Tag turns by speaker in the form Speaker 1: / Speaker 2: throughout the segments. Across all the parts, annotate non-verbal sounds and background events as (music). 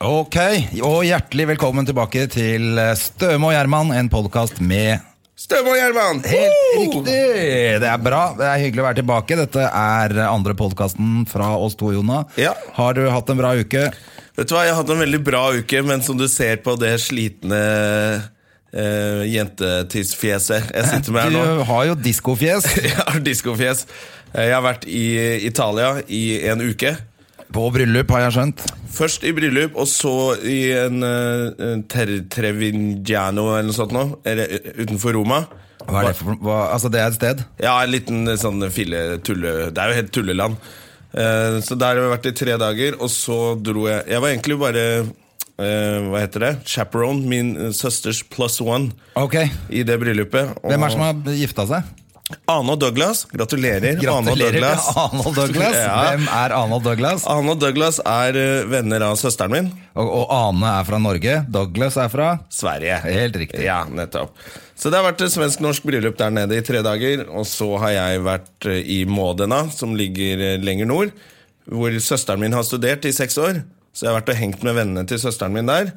Speaker 1: Ok, og hjertelig velkommen tilbake til eh, Støme og Gjerman, en podkast med
Speaker 2: Støme og Gjerman!
Speaker 1: Helt
Speaker 2: Woo!
Speaker 1: riktig! Det er bra. Det er hyggelig å være tilbake. Dette er eh, andre podkasten fra oss to, Jona.
Speaker 2: Ja.
Speaker 1: Har du hatt en bra uke?
Speaker 2: Vet du hva, Jeg har hatt en veldig bra uke, men som du ser på det slitne eh, jentetissfjeset jeg sitter med her
Speaker 1: (laughs)
Speaker 2: (laughs) nå
Speaker 1: Du har jo diskofjes
Speaker 2: Jeg har diskofjes. Eh, Jeg har vært i Italia i en uke.
Speaker 1: (laughs) på bryllup, har jeg skjønt.
Speaker 2: Først i bryllup, og så i en eh, ter Trevignano eller noe sånt nå, eller, eh, utenfor Roma.
Speaker 1: Hva er det for hva, Altså, det er et sted?
Speaker 2: Ja, en liten sånn fille-tulle... Det er jo helt tulleland. Eh, Så der har vi vært i tre dager, og så dro jeg Jeg var egentlig bare eh, Hva heter det? Chaperone. Min eh, søsters plus one
Speaker 1: Ok.
Speaker 2: i det bryllupet. Og
Speaker 1: Hvem er det som har gifta seg?
Speaker 2: Ane og Douglas. Gratulerer. Ane og
Speaker 1: Gratulerer
Speaker 2: Douglas.
Speaker 1: med Arnold (laughs) Douglas.
Speaker 2: (laughs) Ja.
Speaker 1: Hvem er Arnold Douglas?
Speaker 2: Ane og Douglas er eh, venner av søsteren min.
Speaker 1: Og, og Ane er fra Norge. Douglas er fra
Speaker 2: Sverige.
Speaker 1: Helt riktig.
Speaker 2: Ja, nettopp. Så det har vært et svensk-norsk bryllup der nede i tre dager. Og så har jeg vært eh, i Modena, som ligger eh, lenger nord, hvor søsteren min har studert i seks år. Så jeg har vært og hengt med vennene til søsteren min der.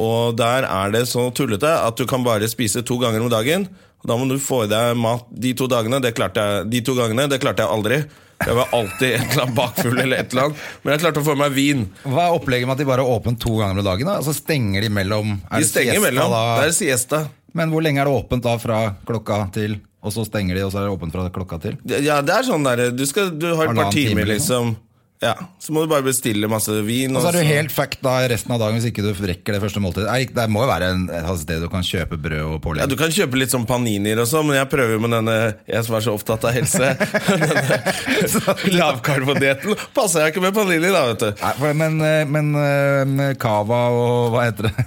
Speaker 2: Og der er det så tullete at du kan bare spise to ganger om dagen. Og da må du få i deg mat de to dagene. Det klarte jeg, de to gangene, det klarte jeg aldri. Jeg var alltid et eller annet bakfull eller et eller annet. Men jeg klarte å få meg vin.
Speaker 1: Hva er opplegget med at de bare er åpent to ganger om dagen? da? Altså stenger de mellom er
Speaker 2: De
Speaker 1: det
Speaker 2: stenger
Speaker 1: siesta
Speaker 2: imellom.
Speaker 1: da?
Speaker 2: Det er siesta.
Speaker 1: Men hvor lenge er det åpent da fra klokka til, og så stenger de, og så er det åpent fra klokka til?
Speaker 2: Ja, det er sånn der Du, skal, du har et par
Speaker 1: Halvannen time,
Speaker 2: timer, liksom. Ja, Så må du bare bestille masse vin.
Speaker 1: Og så er du
Speaker 2: så-
Speaker 1: helt fucked da resten av dagen hvis ikke du rekker det første måltidet. Nei, Det må jo være en, et sted du kan kjøpe brød og
Speaker 2: ja,
Speaker 1: pålegg.
Speaker 2: Du kan kjøpe litt sånn paninier og sånn, men jeg prøver jo med denne jeg som er så opptatt av helse. (laughs) denne Lavkarbodietten. Passer jeg ikke med panini, da, vet du.
Speaker 1: Nei, for, men, eh, men eh, Cava og hva heter det?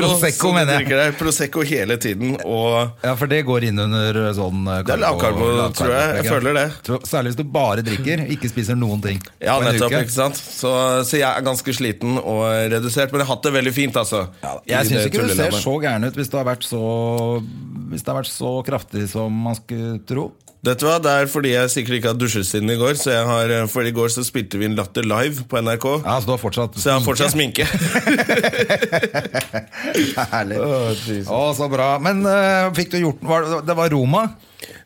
Speaker 1: (laughs) Prosecco
Speaker 2: som du
Speaker 1: mener jeg.
Speaker 2: drikker der. Prosecco hele tiden. Og
Speaker 1: Ja, for det går inn under sånn eh,
Speaker 2: Det er
Speaker 1: karbo-
Speaker 2: lavkarbo,
Speaker 1: lavkarbo-
Speaker 2: tror jeg. Jeg føler det.
Speaker 1: Tror- Særlig hvis du bare drikker, ikke spiser noen ting.
Speaker 2: ja,
Speaker 1: på en
Speaker 2: nettopp,
Speaker 1: uke.
Speaker 2: ikke sant? Så, så jeg er ganske sliten og redusert, men jeg har hatt det veldig fint, altså. i
Speaker 1: Jeg syns
Speaker 2: det
Speaker 1: ikke du ser
Speaker 2: tullelandet.
Speaker 1: så gæren ut hvis det har vært så Hvis det har vært så kraftig som man skulle tro.
Speaker 2: Vet du hva, Det er fordi jeg sikkert ikke har dusjet siden i går. Så jeg har, eh, for I går så spilte vi en Latter live på NRK.
Speaker 1: Ja, så du har fortsatt
Speaker 2: Så jeg har fortsatt sminke.
Speaker 1: (laughs) Herlig. Å, så bra. Men eh, fikk du gjort var, det- Det var Roma?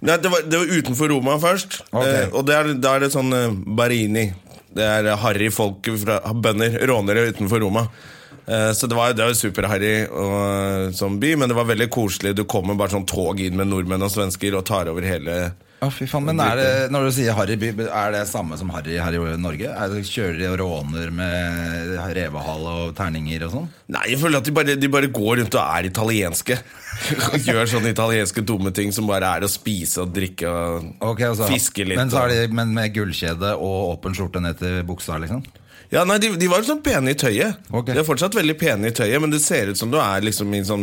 Speaker 2: Nei, det, var, det var utenfor Roma først.
Speaker 1: Ok.
Speaker 2: Eh, og der, der er det sånn eh, Barini. Det er harry folk fra bønder, rånere utenfor Roma. Eh, så det var, det var superharry og, eh, som by, men det var veldig koselig. Du kommer bare sånn tog inn med nordmenn og svensker og tar over hele
Speaker 1: Å, fy faen. Men er det, når du sier Harry by, er det samme som Harry her i Norge? Er det, kjører de og råner med revehale og terninger og sånn?
Speaker 2: Nei, jeg føler at de bare, de bare går rundt og er italienske. Og Gjør sånne italienske dumme ting som bare er å spise og drikke og
Speaker 1: Ok, altså,
Speaker 2: fiske litt.
Speaker 1: men, så
Speaker 2: og-
Speaker 1: har de, men med gullkjede og åpen skjorte ned til buksa, liksom?
Speaker 2: Ja, nei, de, de var sånn pene i tøyet.
Speaker 1: Ok.
Speaker 2: De er fortsatt veldig pene i tøyet, men det ser ut som du er liksom i en sånn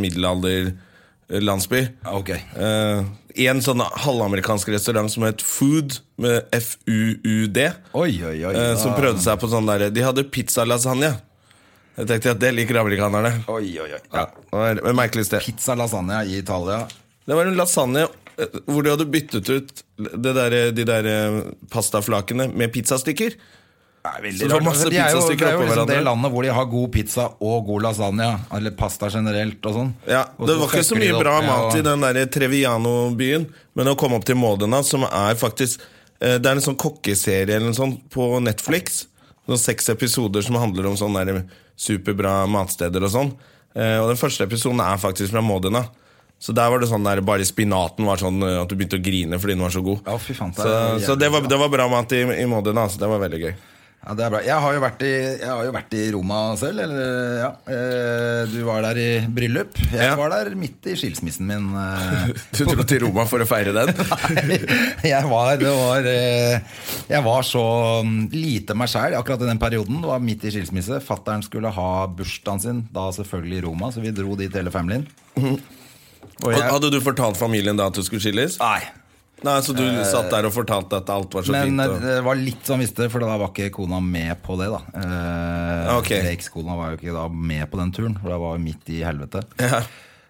Speaker 2: middelalderlandsby.
Speaker 1: Ok.
Speaker 2: Eh, I en sånn halvamerikansk restaurant som het Food, med F-U-U-D,
Speaker 1: Oi, oi, oi.
Speaker 2: eh, som
Speaker 1: da.
Speaker 2: prøvde seg på sånn derre De hadde pizzalasagne. Jeg tenkte at det liker amerikanerne.
Speaker 1: Oi, oi, oi.
Speaker 2: Ja, det var et merkelig sted.
Speaker 1: Pizza lasagna i Italia.
Speaker 2: Det var en lasagne eh, hvor de hadde byttet ut det der, de der eh, pastaflakene med pizzastykker.
Speaker 1: Så
Speaker 2: Så det var masse
Speaker 1: de er jo, det
Speaker 2: pizzastykker
Speaker 1: er jo
Speaker 2: oppå
Speaker 1: liksom det
Speaker 2: hverandre.
Speaker 1: landet hvor de har god pizza og god lasagne. Eller pasta generelt og sånn.
Speaker 2: Ja,
Speaker 1: Og
Speaker 2: det
Speaker 1: så
Speaker 2: var ikke så
Speaker 1: fucker de
Speaker 2: mye
Speaker 1: det
Speaker 2: bra
Speaker 1: opp, ja,
Speaker 2: mat i
Speaker 1: og-
Speaker 2: den der Treviano-byen, men å komme opp til Modena, som er faktisk eh, Det er en sånn kokkeserie eller noe sånt på Netflix. Sånn seks episoder som handler om sånne der superbra matsteder og sånn. Eh, Og den første episoden er faktisk fra Modena. Så der var det sånn der bare spinaten var sånn eh, at du begynte å grine fordi den var så god.
Speaker 1: Ja, fy faen, det er
Speaker 2: så
Speaker 1: jævlig
Speaker 2: så det, var, det var bra mat i, i Modena. Så det var veldig
Speaker 1: (laughs)
Speaker 2: gøy.
Speaker 1: Ja, det er bra. Jeg har jo vært i, jeg har jo vært i Roma selv. Eller, ja. Eh, Du var der i bryllup. Jeg
Speaker 2: Ja.
Speaker 1: var der midt i skilsmissen min.
Speaker 2: (laughs)
Speaker 1: eh.
Speaker 2: Du dro til Roma for å feire (laughs) den?
Speaker 1: (laughs) jeg var, det var eh, Jeg var så mm, lite meg sjæl akkurat i den perioden. Det var midt i skilsmisse. Fattern skulle ha bursdagen sin, da selvfølgelig i Roma, så vi dro dit hele familien. Og jeg,
Speaker 2: Hadde du fortalt familien da at du skulle skilles?
Speaker 1: nei.
Speaker 2: Nei, Så du satt der og fortalte at alt var så
Speaker 1: Eh, Men
Speaker 2: fint?
Speaker 1: eh,
Speaker 2: Og...
Speaker 1: det var litt som visste, for da var ikke kona med på det, da. Eh,
Speaker 2: Ah, Ok.
Speaker 1: eller Ekskona var jo ikke da med på den turen, for det var jo midt i helvete.
Speaker 2: Ja.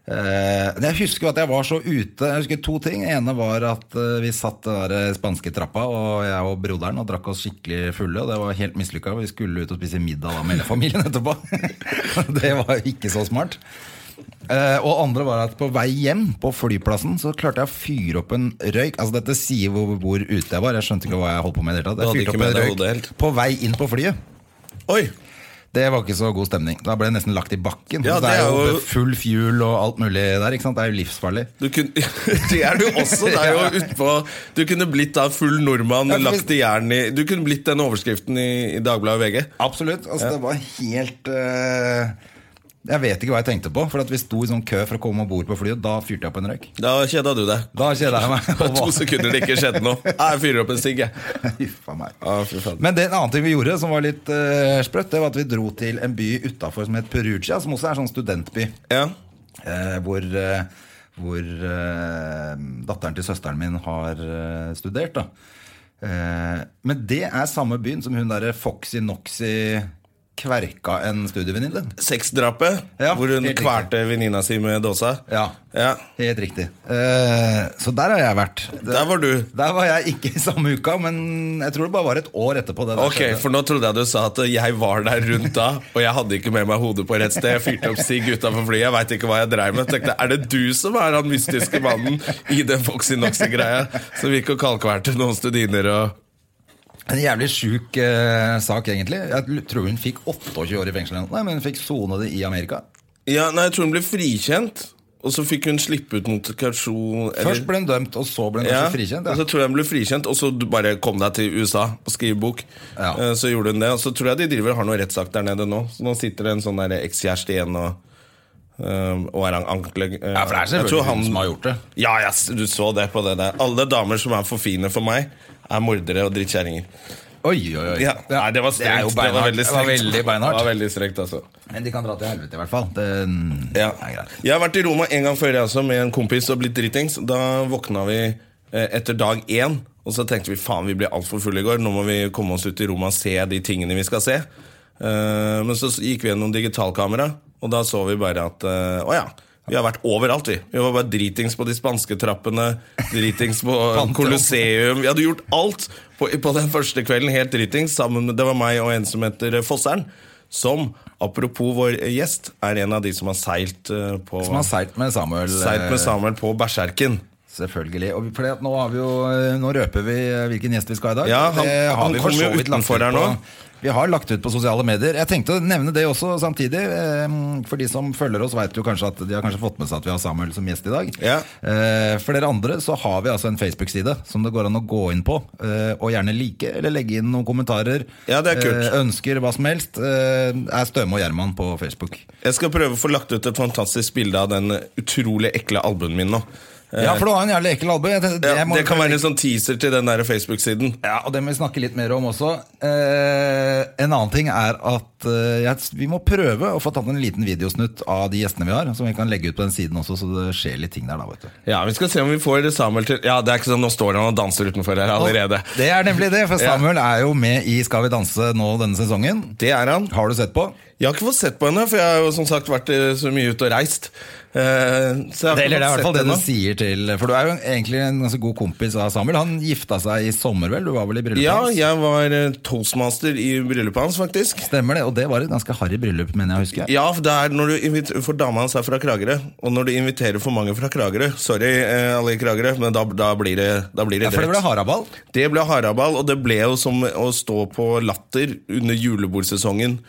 Speaker 1: Eh, men jeg husker jo at jeg var så ute. Jeg husker to ting. ene var at eh, vi satt den der eh, spanske trappa, og jeg og broderen og drakk oss skikkelig fulle. Og det var helt mislykka. Vi skulle ut og spise middag da med hele familien etterpå. (laughs) det var jo ikke så smart. Eh, og andre var at på vei hjem på flyplassen så klarte jeg å fyre opp en røyk. Altså Dette sier hvor, hvor ute jeg var. Jeg skjønte ikke hva jeg holdt på med. i det hele
Speaker 2: Du
Speaker 1: tatt
Speaker 2: hadde
Speaker 1: Jeg fyrte
Speaker 2: ikke
Speaker 1: opp
Speaker 2: med deg
Speaker 1: en
Speaker 2: hodet
Speaker 1: røyk
Speaker 2: helt.
Speaker 1: på vei inn på flyet.
Speaker 2: Oi!
Speaker 1: Det var ikke så god stemning. Da ble jeg nesten lagt i bakken.
Speaker 2: Ja,
Speaker 1: Så det er jo
Speaker 2: jo-
Speaker 1: full fuel og alt mulig der. ikke sant? Det er jo livsfarlig.
Speaker 2: Du kunne, (laughs) det er du også.
Speaker 1: (laughs)
Speaker 2: Det er jo utpå Du kunne blitt da full nordmann,
Speaker 1: Ja, for hvis-
Speaker 2: lagt i jern i Du kunne blitt den overskriften i, i Dagbladet og VG.
Speaker 1: Absolutt. altså Det var helt eh, Jeg vet ikke hva jeg tenkte på. For at vi sto i sånn kø for å komme om bord på flyet. Da fyrte jeg opp en røyk.
Speaker 2: Da kjeda du deg.
Speaker 1: Da kjeda jeg meg.
Speaker 2: Det var (laughs) to sekunder det ikke skjedde
Speaker 1: (laughs)
Speaker 2: noe. Ah, Jeg fyrer opp en sigg, jeg.
Speaker 1: Huffa meg.
Speaker 2: Ah, fy faen.
Speaker 1: Men det en annen ting vi gjorde som var litt eh, sprøtt, det var at vi dro til en by utafor som het Perugia, som også er en sånn studentby.
Speaker 2: Ja.
Speaker 1: Eh, hvor eh, hvor eh, datteren til søsteren min har eh, studert. da. Eh, men det er samme byen som hun derre Foxy Noxy kverka en studievenninne.
Speaker 2: Sexdrapet,
Speaker 1: Ja,
Speaker 2: hvor hun
Speaker 1: helt riktig.
Speaker 2: kvalte venninna si med dåsa.
Speaker 1: Ja.
Speaker 2: Ja.
Speaker 1: Helt riktig. Eh, så der har jeg vært.
Speaker 2: Der var du.
Speaker 1: Der var jeg ikke i samme uka, men jeg tror det bare var et år etterpå. Det der
Speaker 2: Ok,
Speaker 1: skjedde.
Speaker 2: for nå trodde jeg du sa at jeg var der rundt da, og jeg hadde ikke med meg hodet på rett sted. Jeg fyrte opp sigg utenfor flyet, jeg veit ikke hva jeg dreiv med. Jeg Tenkte, Er det du som er han mystiske mannen i den Foxy Noxy-greia som gikk og kalkverte noen studiner og
Speaker 1: En jævlig sjuk eh, sak, egentlig. Jeg l- tror hun fikk 28 år i fengsel. eller noe. Nei, men hun fikk sone det i Amerika.
Speaker 2: Ja, nei, jeg tror hun ble frikjent, og så fikk hun slippe ut notifikasjon eller-
Speaker 1: Først ble hun dømt, og så ble hun
Speaker 2: Ja, Altså,
Speaker 1: kanskje frikjent.
Speaker 2: Og
Speaker 1: Ja.
Speaker 2: så tror jeg hun ble frikjent, og så du bare kom deg til USA og skrive bok.
Speaker 1: Ja.
Speaker 2: Eh, Så gjorde hun det, og så tror jeg de driver og har noe rettssak der nede nå. Så nå sitter det en sånn der ekskjæreste igjen og, eh, og er an- anklag... eh,
Speaker 1: Ja, for det er
Speaker 2: jeg tror
Speaker 1: selvfølgelig hun som har gjort det.
Speaker 2: Ja, ja, s- du så det på det der. Alle damer som er for fine for meg, er mordere og drittkjerringer.
Speaker 1: Oi, oi, oi.
Speaker 2: Ja. Nei, det var
Speaker 1: Det er
Speaker 2: strengt.
Speaker 1: jo
Speaker 2: Det, var
Speaker 1: beinhardt.
Speaker 2: veldig
Speaker 1: Det var
Speaker 2: strengt.
Speaker 1: veldig beinhardt.
Speaker 2: Det var veldig strengt, altså.
Speaker 1: Men de kan dra til helvete, i hvert fall. Det mm,
Speaker 2: Ja.
Speaker 1: er greit.
Speaker 2: Jeg har vært i Roma en gang før jeg også med en kompis og blitt dritings. Da våkna vi eh, etter dag én, og så tenkte vi faen, vi ble altfor fulle i går. Nå må vi komme oss ut i Roma og se de tingene vi skal se. Eh, Men så gikk vi gjennom digitalkamera, og da så vi bare at eh, å ja. Vi har vært overalt, vi. Vi var bare dritings på de spanske trappene. Dritings på
Speaker 1: Pantheon.
Speaker 2: Colosseum. Vi hadde gjort alt på, på den første kvelden, helt dritings. Sammen med, det var meg og en som heter eh, Fosseren. Som, apropos vår gjest, er en av de som har seilt eh, på
Speaker 1: Som har seilt med Samuel.
Speaker 2: Seilt med
Speaker 1: eh,
Speaker 2: Samuel på Berserken.
Speaker 1: Selvfølgelig. Og fordi at nå, har vi jo, eh, nå røper vi hvilken gjest vi skal ha i dag.
Speaker 2: Ja, han-
Speaker 1: Det har
Speaker 2: han
Speaker 1: vi for så
Speaker 2: kommer jo
Speaker 1: vidt lagt
Speaker 2: utenfor
Speaker 1: ut
Speaker 2: her
Speaker 1: på-
Speaker 2: nå.
Speaker 1: Vi har lagt ut på sosiale medier. Jeg tenkte å nevne det også samtidig. eh, For de som følger oss, vet jo kanskje at de har kanskje fått med seg at vi har Samuel som gjest i dag.
Speaker 2: Ja.
Speaker 1: Eh, For dere andre så har vi altså en Facebook-side som det går an å gå inn på. eh, Og gjerne like, eller legge inn noen kommentarer.
Speaker 2: Ja, det er kult.
Speaker 1: eh, Ønsker hva som helst. eh, Er Støme og Gjerman på Facebook.
Speaker 2: Jeg skal prøve å få lagt ut et fantastisk bilde av den utrolig ekle albuen min nå. Eh,
Speaker 1: Ja, for du har en jævlig ekkel albue. Jeg tenkte,
Speaker 2: ja,
Speaker 1: må-
Speaker 2: det kan være en sånn teaser til den der Facebook-siden.
Speaker 1: Ja, og det må vi snakke litt mer om også. Eh, en annen ting er at eh, jeg, vi må prøve å få tatt en liten videosnutt av de gjestene vi har, som vi kan legge ut på den siden også, så det skjer litt ting der da, vet du.
Speaker 2: Ja, Vi skal se om vi får Samuel til Ja, det er ikke sånn, Nå står han og danser utenfor her allerede.
Speaker 1: Det er nemlig det, for Samuel er jo med i Skal vi danse nå denne sesongen.
Speaker 2: Det er han.
Speaker 1: Har du sett på?
Speaker 2: Jeg har ikke fått sett på henne, for jeg har jo som sagt vært eh, så mye ute og reist. Eh, Så jeg har
Speaker 1: Eller det er i hvert fall det du
Speaker 2: henne.
Speaker 1: sier til For du er jo egentlig en ganske god kompis av Samuel. Han gifta seg i sommer, vel? Du var vel i bryllupet
Speaker 2: Ja,
Speaker 1: hans?
Speaker 2: jeg var eh, toastmaster i bryllupet hans, faktisk.
Speaker 1: Stemmer det. Og det var et ganske harry bryllup, mener jeg å huske.
Speaker 2: Ja, for, det er når du invit- for dama hans er fra Kragerø, og når du inviterer for mange fra Kragerø Sorry, eh, alle i Kragerø, men da, da blir det, da blir det
Speaker 1: Ja, for det ble
Speaker 2: drøyt.
Speaker 1: haraball.
Speaker 2: Det ble haraball, og det ble jo som å stå på latter under julebordsesongen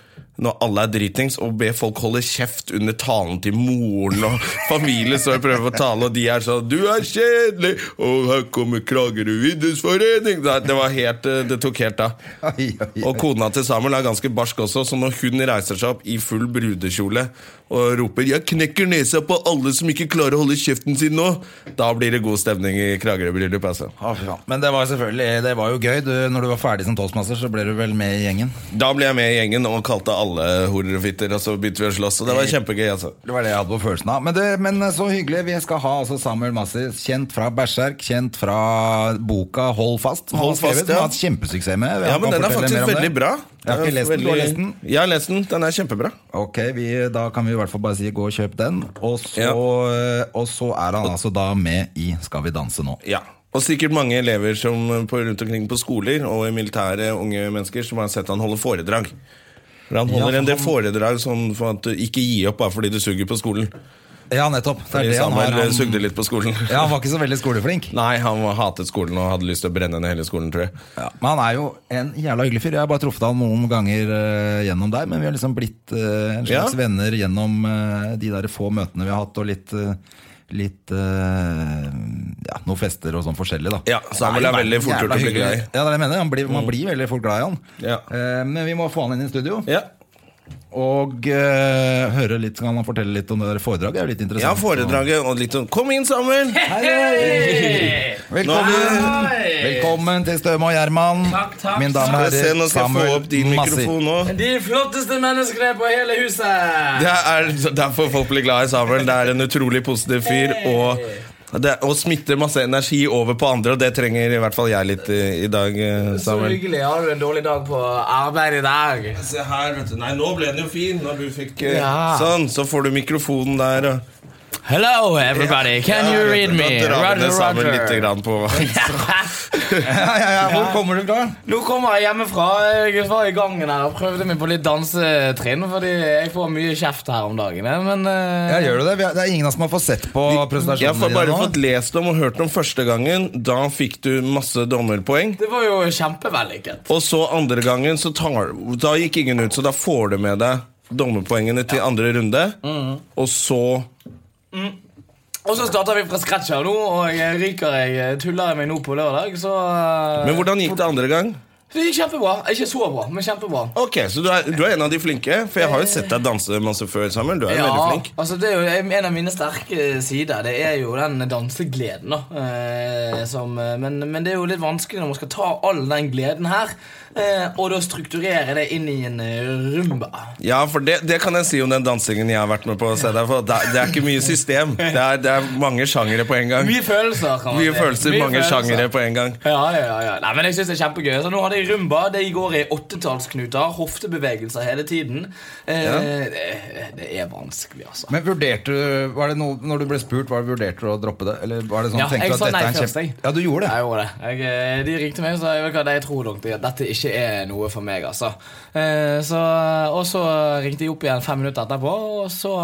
Speaker 2: når alle er dritings, og be folk holde kjeft under talen til moren og (laughs) familien står og prøver å tale, og de er sånn 'Du er kjedelig!' Og her kommer Kragerø idrettsforening! Nei, Det, var helt, eh, det tok helt av.
Speaker 1: (laughs) Oi, oi,
Speaker 2: Og kona til Samuel er ganske barsk også, så når hun reiser seg opp i full brudekjole og roper 'Jeg knekker nesa på alle som ikke klarer å holde kjeften sin nå', da blir det god stemning i Kragerø-bryllup, altså.
Speaker 1: Å, fy faen. Men det var selvfølgelig Det var jo gøy. Du, når du var ferdig som toastmaster, så ble du vel med i gjengen.
Speaker 2: Da ble jeg med i gjengen og kalte alle alle horer og fitter, og så begynte vi å slåss. Og det var kjempegøy, altså.
Speaker 1: Det var det jeg hadde på følelsen av. Men, det, men eh, så hyggelig. Vi skal ha altså Samuel Massi, kjent fra Berserk, kjent fra boka Hold fast. som han
Speaker 2: Hold
Speaker 1: har skrevet,
Speaker 2: fast,
Speaker 1: som
Speaker 2: ja.
Speaker 1: har hatt kjempesuksess med.
Speaker 2: Ja,
Speaker 1: Han
Speaker 2: men
Speaker 1: kan
Speaker 2: den er
Speaker 1: fortelle mer
Speaker 2: faktisk
Speaker 1: om det.
Speaker 2: veldig bra.
Speaker 1: Jeg har ikke
Speaker 2: Den er
Speaker 1: lest den. Du har
Speaker 2: veldig-
Speaker 1: lest den?
Speaker 2: Jeg har lest den. Den er kjempebra.
Speaker 1: Ok, vi, Da kan vi i hvert fall bare si gå og kjøp den. Og så, eh,
Speaker 2: Ja.
Speaker 1: og så er han altså da med i Skal vi danse nå.
Speaker 2: Ja. Og sikkert mange elever som eh, på, rundt omkring på skoler og i militære unge mennesker som har sett han holde foredrag. For han holder
Speaker 1: Ja,
Speaker 2: en del
Speaker 1: han-
Speaker 2: foredrag sånn for at du ikke gi opp bare fordi du suger på skolen.
Speaker 1: Ja, nettopp. Det er
Speaker 2: Fordi
Speaker 1: det han
Speaker 2: Samuel
Speaker 1: har.
Speaker 2: eh, sugde
Speaker 1: Han,
Speaker 2: litt på skolen.
Speaker 1: ja, han var ikke så veldig skoleflink.
Speaker 2: (laughs) Nei, han hatet skolen og hadde lyst til å brenne ned hele skolen, tror jeg.
Speaker 1: Ja, men han er jo en jævla hyggelig fyr. Jeg har bare truffet han noen ganger eh, gjennom deg, men vi har liksom blitt eh, en slags
Speaker 2: Ja.
Speaker 1: venner gjennom eh, de der få møtene vi har hatt, og litt, eh, litt eh, ja, noen fester og sånn forskjellig, da.
Speaker 2: Ja, så han
Speaker 1: Det
Speaker 2: vil
Speaker 1: jo
Speaker 2: ha veldig fort
Speaker 1: jævla
Speaker 2: gjort å bli
Speaker 1: hyggelig.
Speaker 2: glad i. Mm.
Speaker 1: Ja, det er det jeg mener. Han blir, man blir veldig fort glad i han.
Speaker 2: Ja.
Speaker 1: Eh, men vi må få han inn i studio
Speaker 2: Ja,
Speaker 1: og eh, høre litt, kan han fortelle litt om det der foredraget. Det er jo litt
Speaker 2: ja
Speaker 1: interessant.
Speaker 2: foredraget og litt om Kom inn, Samuel!
Speaker 1: Hei, hei! Velkommen,
Speaker 3: Hei!
Speaker 1: velkommen til Støme og Gjerman.
Speaker 3: Takk, takk,
Speaker 1: Min dame
Speaker 2: Skal jeg se, nå skal jeg få opp din
Speaker 1: Massi.
Speaker 2: mikrofon nå.
Speaker 3: De flotteste menneskene på hele huset!
Speaker 2: Det er derfor folk blir glad i Samuel. Det er en utrolig positiv fyr. Og, det, og smitter masse energi over på andre, og det trenger i hvert fall jeg litt i, i dag. eh,
Speaker 3: Så
Speaker 2: Samuel
Speaker 3: hyggelig. Har du en dårlig dag på arbeid i dag?
Speaker 2: Se her, vet du. Nei, nå ble den jo fin. Når du fikk eh,
Speaker 3: Ja.
Speaker 2: Sånn, så får du mikrofonen der. og-
Speaker 3: Hello, everybody. Can you
Speaker 2: Ja, vet
Speaker 3: read
Speaker 2: du,
Speaker 3: me?
Speaker 2: Da drar vi
Speaker 3: Roger,
Speaker 2: ned Samuel
Speaker 3: Roger.
Speaker 2: lite grann på
Speaker 1: Ja, ja, ja. Hvor kommer du fra?
Speaker 3: (laughs) Nå kommer jeg hjemmefra. Jeg var i gangen her og prøvde meg på litt dansetrinn, fordi jeg får mye kjeft her om dagen. eh, Men eh,
Speaker 1: Ja, gjør du det? Vi har- Det er ingen av oss som har fått sett på
Speaker 2: Jeg
Speaker 1: presentasjonene
Speaker 2: har bare fått
Speaker 1: dine nå.
Speaker 2: lest om og hørt om første gangen. Da fikk du masse dommerpoeng.
Speaker 3: det var jo kjempevellykket.
Speaker 2: Og så andre gangen, så tar, da gikk ingen ut, så da får du med deg dommerpoengene til andre runde.
Speaker 3: Mm.
Speaker 2: Og så
Speaker 3: Og så starter vi fra scratch her nå, og jeg ryker jeg tuller meg nå på lørdag, så eh,
Speaker 2: Men hvordan gikk det andre gang?
Speaker 3: Det gikk kjempebra. Ikke så bra, men kjempebra.
Speaker 2: Ok, Så du er, du er en av de flinke? For jeg har jo sett deg danse masse før, Samuel. Du er jo veldig flink.
Speaker 3: altså det er jo En av mine sterke eh, sider Det er jo den dansegleden. da eh, som, eh, men, men det er jo litt vanskelig når man skal ta all den gleden her, eh, og da strukturere det inn i en eh, rumba.
Speaker 2: Ja, for det, det kan jeg si om den dansingen jeg har vært med på. å se deg for det, er- det er ikke mye system. Det er, det er mange sjangere på en gang.
Speaker 3: Mye følelser. kan man
Speaker 2: Mye
Speaker 3: si.
Speaker 2: følelser, mange
Speaker 3: følelser.
Speaker 2: sjangere på en gang.
Speaker 3: Ja, ja, ja, ja. Nei, men jeg synes det er kjempegøy Så Nå hadde jeg rumba. Det går i åttetallsknuter. Hoftebevegelser hele tiden. Eh, det, det er vanskelig, altså.
Speaker 1: Men vurderte du, var det noe, Når du ble spurt, var det vurderte du å droppe det? Eller var det sånn,
Speaker 3: Ja,
Speaker 1: tenkte du
Speaker 3: jeg
Speaker 1: at
Speaker 3: sa
Speaker 1: dette
Speaker 3: nei
Speaker 1: er en
Speaker 3: først,
Speaker 1: kjempe...
Speaker 3: jeg.
Speaker 1: Ja, du gjorde det?
Speaker 3: Jeg gjorde det. Jeg, eh, de ringte meg, så jeg, vet hva, jeg tror nok at dette ikke er noe for meg. altså. Eh, så, og så ringte jeg opp igjen fem minutter etterpå, og så,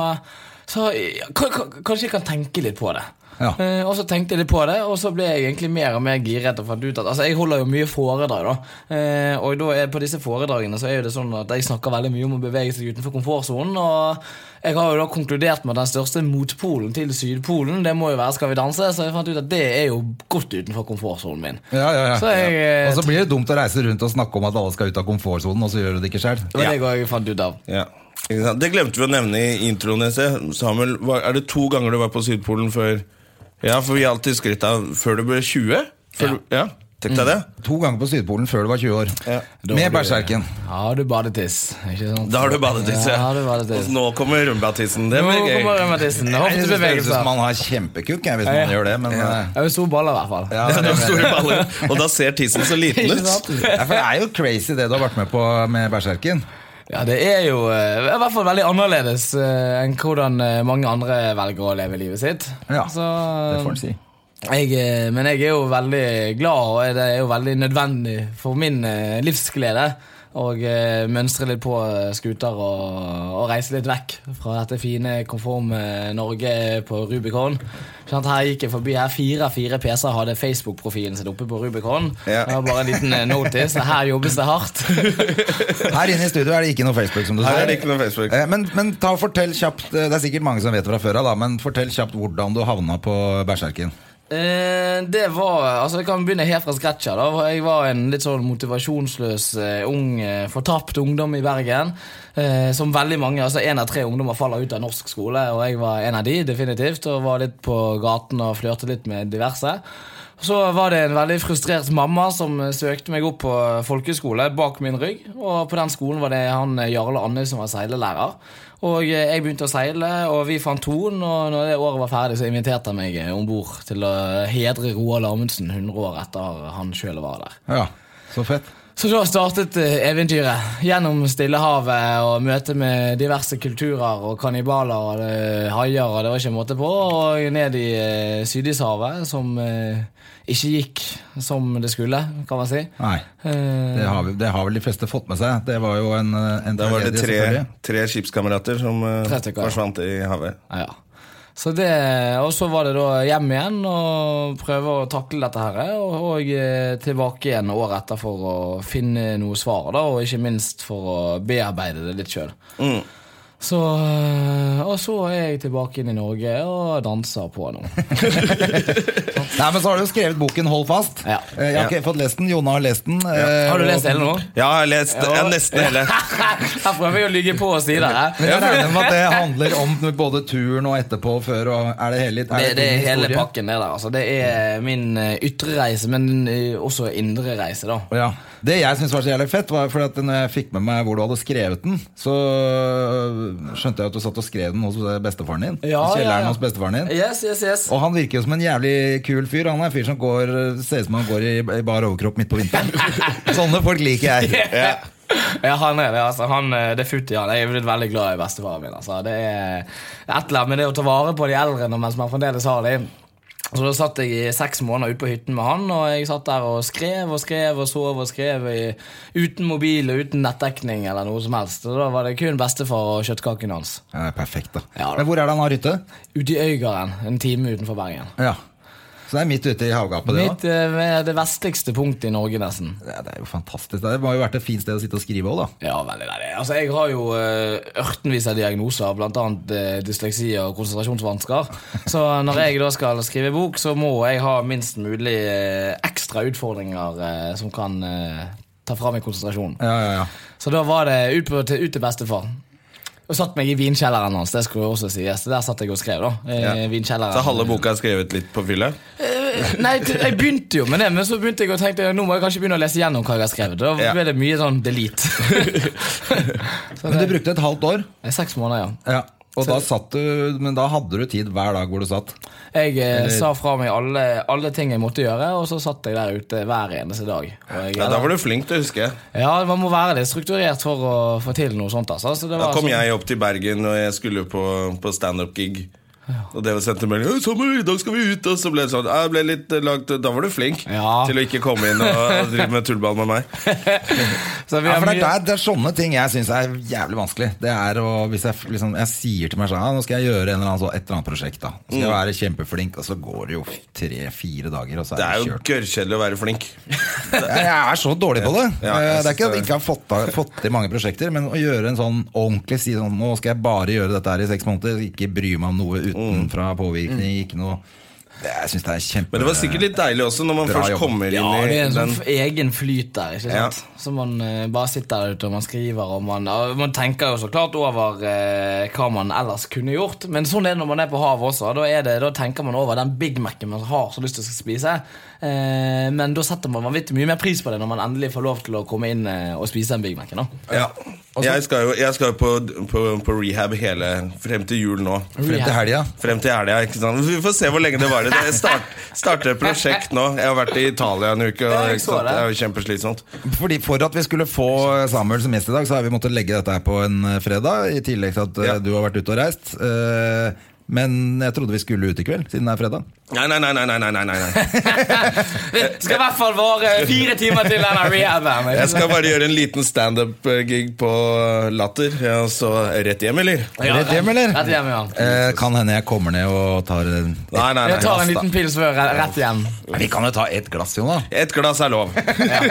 Speaker 3: så ja, k- k- Kanskje jeg kan tenke litt på det.
Speaker 1: Ja.
Speaker 3: Eh, og så tenkte jeg litt på det, og så ble jeg egentlig mer og mer giret. og fant ut at, altså Jeg holder jo mye foredrag, da. Eh, og da er, på disse foredragene så er jo det sånn at jeg snakker veldig mye om å bevege seg utenfor komfortsonen. Og jeg har jo da konkludert med at den største motpolen til Sydpolen, det må jo være Skal vi danse. Så jeg fant ut at det er jo godt utenfor komfortsonen min.
Speaker 1: Ja, ja, ja.
Speaker 3: Så jeg, eh,
Speaker 1: og så blir det dumt å reise rundt og snakke om at alle skal ut av komfortsonen, og så gjør du det ikke sjøl.
Speaker 3: Det var
Speaker 2: Ja.
Speaker 3: det jeg også fant ut av.
Speaker 2: Ja. Ikke sant? Det glemte vi å nevne i introen. i sted. Samuel, var, er det to ganger du var på Sydpolen før Ja, for vi har alltid skrytt av før du ble 20? Før, du- ja. Tenk deg det.
Speaker 1: To ganger på Sydpolen før du var 20 år.
Speaker 2: Ja.
Speaker 1: Med Berserken.
Speaker 3: Ja, du badetiss. Ikke sant?
Speaker 2: Da har du badetiss,
Speaker 3: Ja, har du
Speaker 2: Og
Speaker 3: badetiss.
Speaker 2: nå kommer rumbatissen. Det
Speaker 3: Nå
Speaker 2: blir gøy.
Speaker 3: kommer revmatissen.
Speaker 1: Jeg synes det høres ut som
Speaker 3: Hoftebevegelser.
Speaker 1: man har kjempekukk, jeg, hvis man
Speaker 3: Ja, ja.
Speaker 1: gjør det, men eh,
Speaker 3: Jeg har jo store baller, i hvert fall.
Speaker 1: ja,
Speaker 2: Ja,
Speaker 1: det
Speaker 2: du
Speaker 1: er
Speaker 2: har
Speaker 1: det.
Speaker 2: store baller. Og da ser tissen så liten
Speaker 3: Ikke
Speaker 2: ut.
Speaker 3: sant?
Speaker 1: Ja, for det er jo crazy det du har vært med på med Berserken.
Speaker 3: Ja, det er jo eh, i hvert fall veldig annerledes eh, enn hvordan eh, mange andre velger å leve livet sitt.
Speaker 1: Ja,
Speaker 3: Så,
Speaker 1: Det får en si.
Speaker 3: jeg, eh, men jeg er jo veldig glad, og det er jo veldig nødvendig for min eh, livsglede å eh, mønstre litt på eh, skuter og, og reise litt vekk fra dette fine, konforme Norge på Rubicon. Ikke sant, her gikk jeg forbi her fire av fire PC-er hadde Facebook-profilen sin oppe på Rubicon.
Speaker 2: Ja.
Speaker 3: Det var bare en liten eh, notice. Her jobbes det hardt.
Speaker 1: Her inne i studio er det ikke noe Facebook, som du
Speaker 2: Her
Speaker 1: sa.
Speaker 2: er det ikke noe Facebook.
Speaker 1: Eh, Men, men ta og fortell kjapt eh, Det er sikkert mange som vet det fra før av, da, men fortell kjapt hvordan du havna på Berserken.
Speaker 3: Eh, det var Altså, jeg kan begynne helt fra scratch her. da Jeg var en litt sånn motivasjonsløs eh, ung, eh, fortapt ungdom i Bergen. Eh, som veldig mange. Altså, én av tre ungdommer faller ut av norsk skole, og jeg var en av de, definitivt. Og var litt på gaten og flørte litt med diverse. Så var det en veldig frustrert mamma som eh, søkte meg opp på eh, folkeskole bak min rygg. Og på den skolen var det han eh, Jarle Andøy som var seilelærer. Og eh, jeg begynte å seile, og vi fant tonen, og når det året var ferdig, så inviterte han meg eh, om bord til å eh, hedre Roald Amundsen 100 år etter han sjøl var der.
Speaker 1: Ja, Så fett.
Speaker 3: Så da startet eh, eventyret. Gjennom Stillehavet og møte med diverse kulturer og kannibaler og eh, haier og det var ikke måte på. Og ned i eh, Sydishavet, som eh, ikke gikk som det skulle, kan man si.
Speaker 1: Nei,
Speaker 3: Eh,
Speaker 1: det har, vi- det har vel de fleste fått med seg. Det var jo en, eh, en
Speaker 2: Da var det
Speaker 1: tragedie,
Speaker 2: tre,
Speaker 1: selvfølgelig.
Speaker 2: tre skipskamerater som eh,
Speaker 3: Tre stykker, ja.
Speaker 2: forsvant i havet.
Speaker 3: Ja, ja. Så det, og så var det da hjem igjen og prøve å takle dette her. Og, og eh, tilbake igjen året etter for å finne noe svar, da, og ikke minst for å bearbeide det litt sjøl. Så, eh, og så er jeg tilbake inn i Norge og danser på nå.
Speaker 1: Nei, men så har du jo skrevet boken Hold fast.
Speaker 3: Ja.
Speaker 1: Eh, Jeg har ikke fått lest den. Jonna har lest den. eh,
Speaker 3: (laughs) Har du
Speaker 1: og-
Speaker 3: lest
Speaker 1: (laughs)
Speaker 3: hele nå?
Speaker 2: Ja, jeg har lest ja, nesten hele.
Speaker 3: (laughs) Her prøver jeg å ligge på eh. og si det. her.
Speaker 1: Men jeg regner
Speaker 3: (laughs)
Speaker 1: med at det handler om både turen og etterpå og før. Og er det hele, er
Speaker 3: Det, det er
Speaker 1: din
Speaker 3: hele
Speaker 1: historie?
Speaker 3: pakken, det der. altså Det er min eh, ytre reise, men eh, også indre reise, da.
Speaker 1: Ja. Det jeg syns var så jævlig fett, var fordi at når jeg fikk med meg hvor du hadde skrevet den, så øh, skjønte jeg at du satt og skrev den hos øh, bestefaren din.
Speaker 3: Ja,
Speaker 1: I
Speaker 3: ja,
Speaker 1: kjelleren
Speaker 3: ja.
Speaker 1: hos bestefaren din.
Speaker 3: Yes, yes, yes.
Speaker 1: Og han virker jo som en jævlig kul fyr. Han er en fyr som går, øh, ser ut som han går i, i bar overkropp midt på
Speaker 3: (laughs)
Speaker 1: vinteren. Sånne folk liker jeg.
Speaker 3: ja. han er det. altså han, eh, Det er futt i han. Jeg er blitt veldig glad i bestefaren min. altså Det er et eller annet med det å ta vare på de eldre når- mens man fremdeles har dem. Så da satt jeg i seks måneder ute på hytten med han, og jeg satt der og skrev og skrev og sov og skrev i, uten mobil og uten nettdekning eller noe som helst. Og da var det kun bestefar og kjøttkaken hans.
Speaker 1: Ja, det er perfekt, da.
Speaker 3: Ja, da.
Speaker 1: Men hvor er det han har hytte?
Speaker 3: Ute i Øygarden, en time utenfor Bergen.
Speaker 1: Ja. Så det er midt ute i havgapet, det
Speaker 3: Midt,
Speaker 1: da.
Speaker 3: eh, det vestligste punktet i Norge, nesten.
Speaker 1: Ja, det er jo fantastisk. Det må jo vært et fint sted å sitte og skrive òg, da.
Speaker 3: Ja, veldig deilig. Altså, jeg har jo eh, ørtenvis av diagnoser, bl.a. Uh, dysleksi og konsentrasjonsvansker. Så når jeg da skal skrive bok, så må jeg ha minst mulig eh, ekstra utfordringer eh, som kan eh, ta fra meg konsentrasjonen.
Speaker 1: Ja, ja, ja.
Speaker 3: Så da var det ut, på, til, ut til bestefar. Og satt meg i vinkjelleren hans. det skulle jeg også sies. Der satt jeg og skrev. da. Eh, vinkjelleren.
Speaker 2: Så halve boka er skrevet litt på fylla?
Speaker 3: Eh, Nei, t- jeg begynte jo med det, men så begynte jeg å tenke nå må jeg kanskje begynne å lese gjennom hva jeg har skrevet. Da
Speaker 2: Ja.
Speaker 3: ble det mye sånn delete. (laughs) så
Speaker 1: Men
Speaker 3: det
Speaker 1: du brukte et halvt år.
Speaker 3: er seks måneder, ja.
Speaker 1: Ja. Og da satt du, men da hadde du tid hver dag hvor du satt.
Speaker 3: Jeg eh, sa fra meg alle, alle ting jeg måtte gjøre, og så satt jeg der ute hver eneste dag. Og jeg,
Speaker 2: Ja, Da var du flink til å huske.
Speaker 3: ja, man må være litt strukturert for å få til noe sånt. Altså. Så det
Speaker 2: Da
Speaker 3: var
Speaker 2: kom
Speaker 3: sånn-
Speaker 2: jeg opp til Bergen, og jeg skulle på, på standup-gig. Og det var sendt en melding «Øy, 'Sommer, i dag skal vi ut!' Og så ble det sånn. «Ja, det ble litt eh, langt. Da var du flink
Speaker 3: Ja.
Speaker 2: til å ikke komme inn og og drive med tullball med meg.
Speaker 3: Så vi
Speaker 1: Ja,
Speaker 3: har
Speaker 1: for det, er
Speaker 3: mye-
Speaker 1: der, det er sånne ting jeg syns er jævlig vanskelig. Det er å, Hvis jeg liksom, jeg sier til meg selv «Ah, nå skal jeg gjøre en eller annen, så, et eller annet prosjekt, da. Nå skal
Speaker 2: Mm.
Speaker 1: jeg være kjempeflink, og så går det jo tre-fire dager, og så
Speaker 2: Det
Speaker 1: er
Speaker 2: er
Speaker 1: det
Speaker 2: jo
Speaker 1: kjørt.
Speaker 2: gørrkjedelig å være flink.
Speaker 1: Jeg jeg er så dårlig på det.
Speaker 2: Ja,
Speaker 1: Eh, det er ikke
Speaker 2: jeg synes
Speaker 1: at jeg
Speaker 2: det-
Speaker 1: ikke har fått, ta- fått til mange prosjekter, men å gjøre en sånn ordentlig si sånn Nå skal jeg bare gjøre dette her i seks måneder, ikke bry meg om
Speaker 2: Mm.
Speaker 1: noe utenfra påvirkning, ikke noe Det- Jeg syns det er kjempe...
Speaker 2: Men det var sikkert litt deilig også, når man
Speaker 1: Bra
Speaker 2: først
Speaker 1: jobb.
Speaker 2: kommer
Speaker 3: ja,
Speaker 2: inn
Speaker 3: det er
Speaker 2: i
Speaker 3: en sånn
Speaker 2: den
Speaker 3: f- egen flyt der. ikke
Speaker 2: Ja.
Speaker 3: sant? Så man eh, bare sitter der ute og man skriver. Og man, ja, man tenker jo så klart over eh, hva man ellers kunne gjort. Men sånn er det når man er på havet også. Da, er det, da tenker man over den Big Mac-en man har så lyst til å spise. Eh, men da setter man vanvittig mye mer pris på det når man endelig får lov til å komme inn eh, og spise den Big Mac-en. da.
Speaker 2: Ja. Jeg skal jo, jeg skal jo på, på, på rehab hele frem til jul nå.
Speaker 1: Frem til helga.
Speaker 2: Frem til helga. ikke sant? Vi får se hvor lenge det varer. Jeg start, starter et prosjekt nå. Jeg har vært i Italia en uke,
Speaker 3: Ja,
Speaker 2: og
Speaker 3: jeg
Speaker 2: ikke
Speaker 3: så
Speaker 2: sant?
Speaker 3: det.
Speaker 2: det er jo kjempeslitsomt.
Speaker 1: Fordi For at vi skulle få Samuel som gjest i dag, så har vi måttet legge dette her på en eh, fredag. I tillegg til at eh,
Speaker 2: Ja.
Speaker 1: du har vært ute og reist. Eh, Men jeg trodde vi skulle ut i kveld, siden det er fredag.
Speaker 2: Nei, nei, nei. nei, nei, nei, nei, nei.
Speaker 3: Det (laughs) skal i hvert fall vare fire timer til denne rehaben.
Speaker 2: Jeg skal bare gjøre en liten standup-gig på Latter, ja, og så rett hjem, eller?
Speaker 3: Ja,
Speaker 1: Rett hjem, eller?
Speaker 3: Rett hjem, ja.
Speaker 1: Eh, Kan hende jeg kommer ned og tar eh, en
Speaker 2: Nei, nei,
Speaker 3: Jeg tar en
Speaker 2: nei.
Speaker 3: liten pils før re- rett hjem.
Speaker 1: Vi kan jo ta ett glass, Jonas.
Speaker 2: Et glass er lov.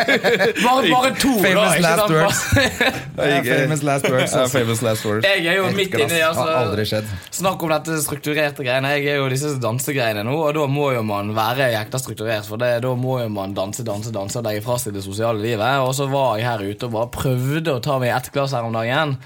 Speaker 3: Bare, bare to, da.
Speaker 1: Famous
Speaker 3: ikke
Speaker 1: last
Speaker 3: sant?
Speaker 1: words. Det er
Speaker 2: Jeg-
Speaker 1: famous last words.
Speaker 2: Ja,
Speaker 1: altså.
Speaker 2: famous last words.
Speaker 3: Jeg er jo
Speaker 1: Ett
Speaker 3: midt
Speaker 1: glass.
Speaker 3: inni, altså.
Speaker 1: Har aldri skjedd.
Speaker 3: Snakk om dette strukturerte greiene. Jeg er jo disse dansegreiene nå, og da må jo man være jækla strukturert, for det, da må jo man danse, danse, danse og legge fra seg det sosiale livet. Og så var jeg her ute og bare prøvde å ta meg ett glass her om dagen.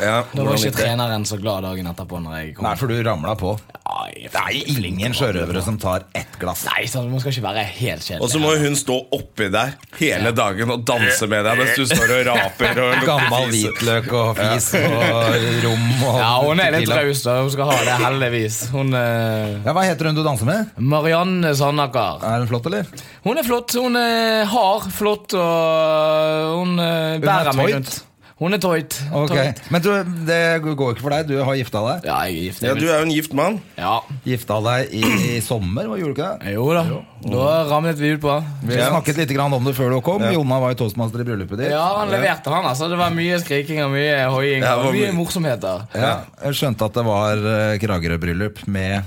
Speaker 2: Ja,
Speaker 3: Da
Speaker 2: hvordan
Speaker 3: var ikke
Speaker 2: gikk det?
Speaker 3: treneren så glad dagen etterpå når jeg kom.
Speaker 1: Nei, for du ramla på.
Speaker 3: Ja, jeg
Speaker 1: Det er jo ingen sjørøvere som tar ett glass.
Speaker 3: Nei, sånn, man skal ikke være helt
Speaker 2: Og
Speaker 3: kjedelig.
Speaker 2: så må jo hun stå oppi der hele dagen og danse med deg mens du står og raper. Og lukter
Speaker 1: Gammel
Speaker 2: fis.
Speaker 1: hvitløk og fis og rom og
Speaker 3: Ja, hun er litt
Speaker 1: tequila.
Speaker 3: raus, da. Hun skal ha det, heldigvis. Hun eh,
Speaker 1: Ja, Hva heter hun du danser med?
Speaker 3: Marianne Sandaker.
Speaker 1: Er hun flott, eller?
Speaker 3: Hun er flott. Hun er hard, flott, og hun eh, bærer meg
Speaker 1: toit?
Speaker 3: rundt. Hun er tøyt.
Speaker 1: Ok, Men du, det går jo ikke for deg. Du har gifta deg.
Speaker 3: Ja, jeg er gift.
Speaker 2: Ja,
Speaker 3: jeg
Speaker 2: du
Speaker 3: vet.
Speaker 2: er jo en gift mann.
Speaker 3: Ja.
Speaker 1: Gifta deg i, i sommer, hva gjorde du ikke det?
Speaker 3: Jo da. Da ramlet vi ut på.
Speaker 1: Vi snakket litt grann om det før du kom. Jonna var jo toastmaster i bryllupet ditt.
Speaker 3: Ja, han leverte, han. altså Det var mye skriking og mye hoiing
Speaker 2: Ja, det
Speaker 3: og
Speaker 2: var
Speaker 3: mye
Speaker 2: mye.
Speaker 3: morsomheter.
Speaker 1: Ja, Jeg skjønte at det var eh, Kragerø-bryllup med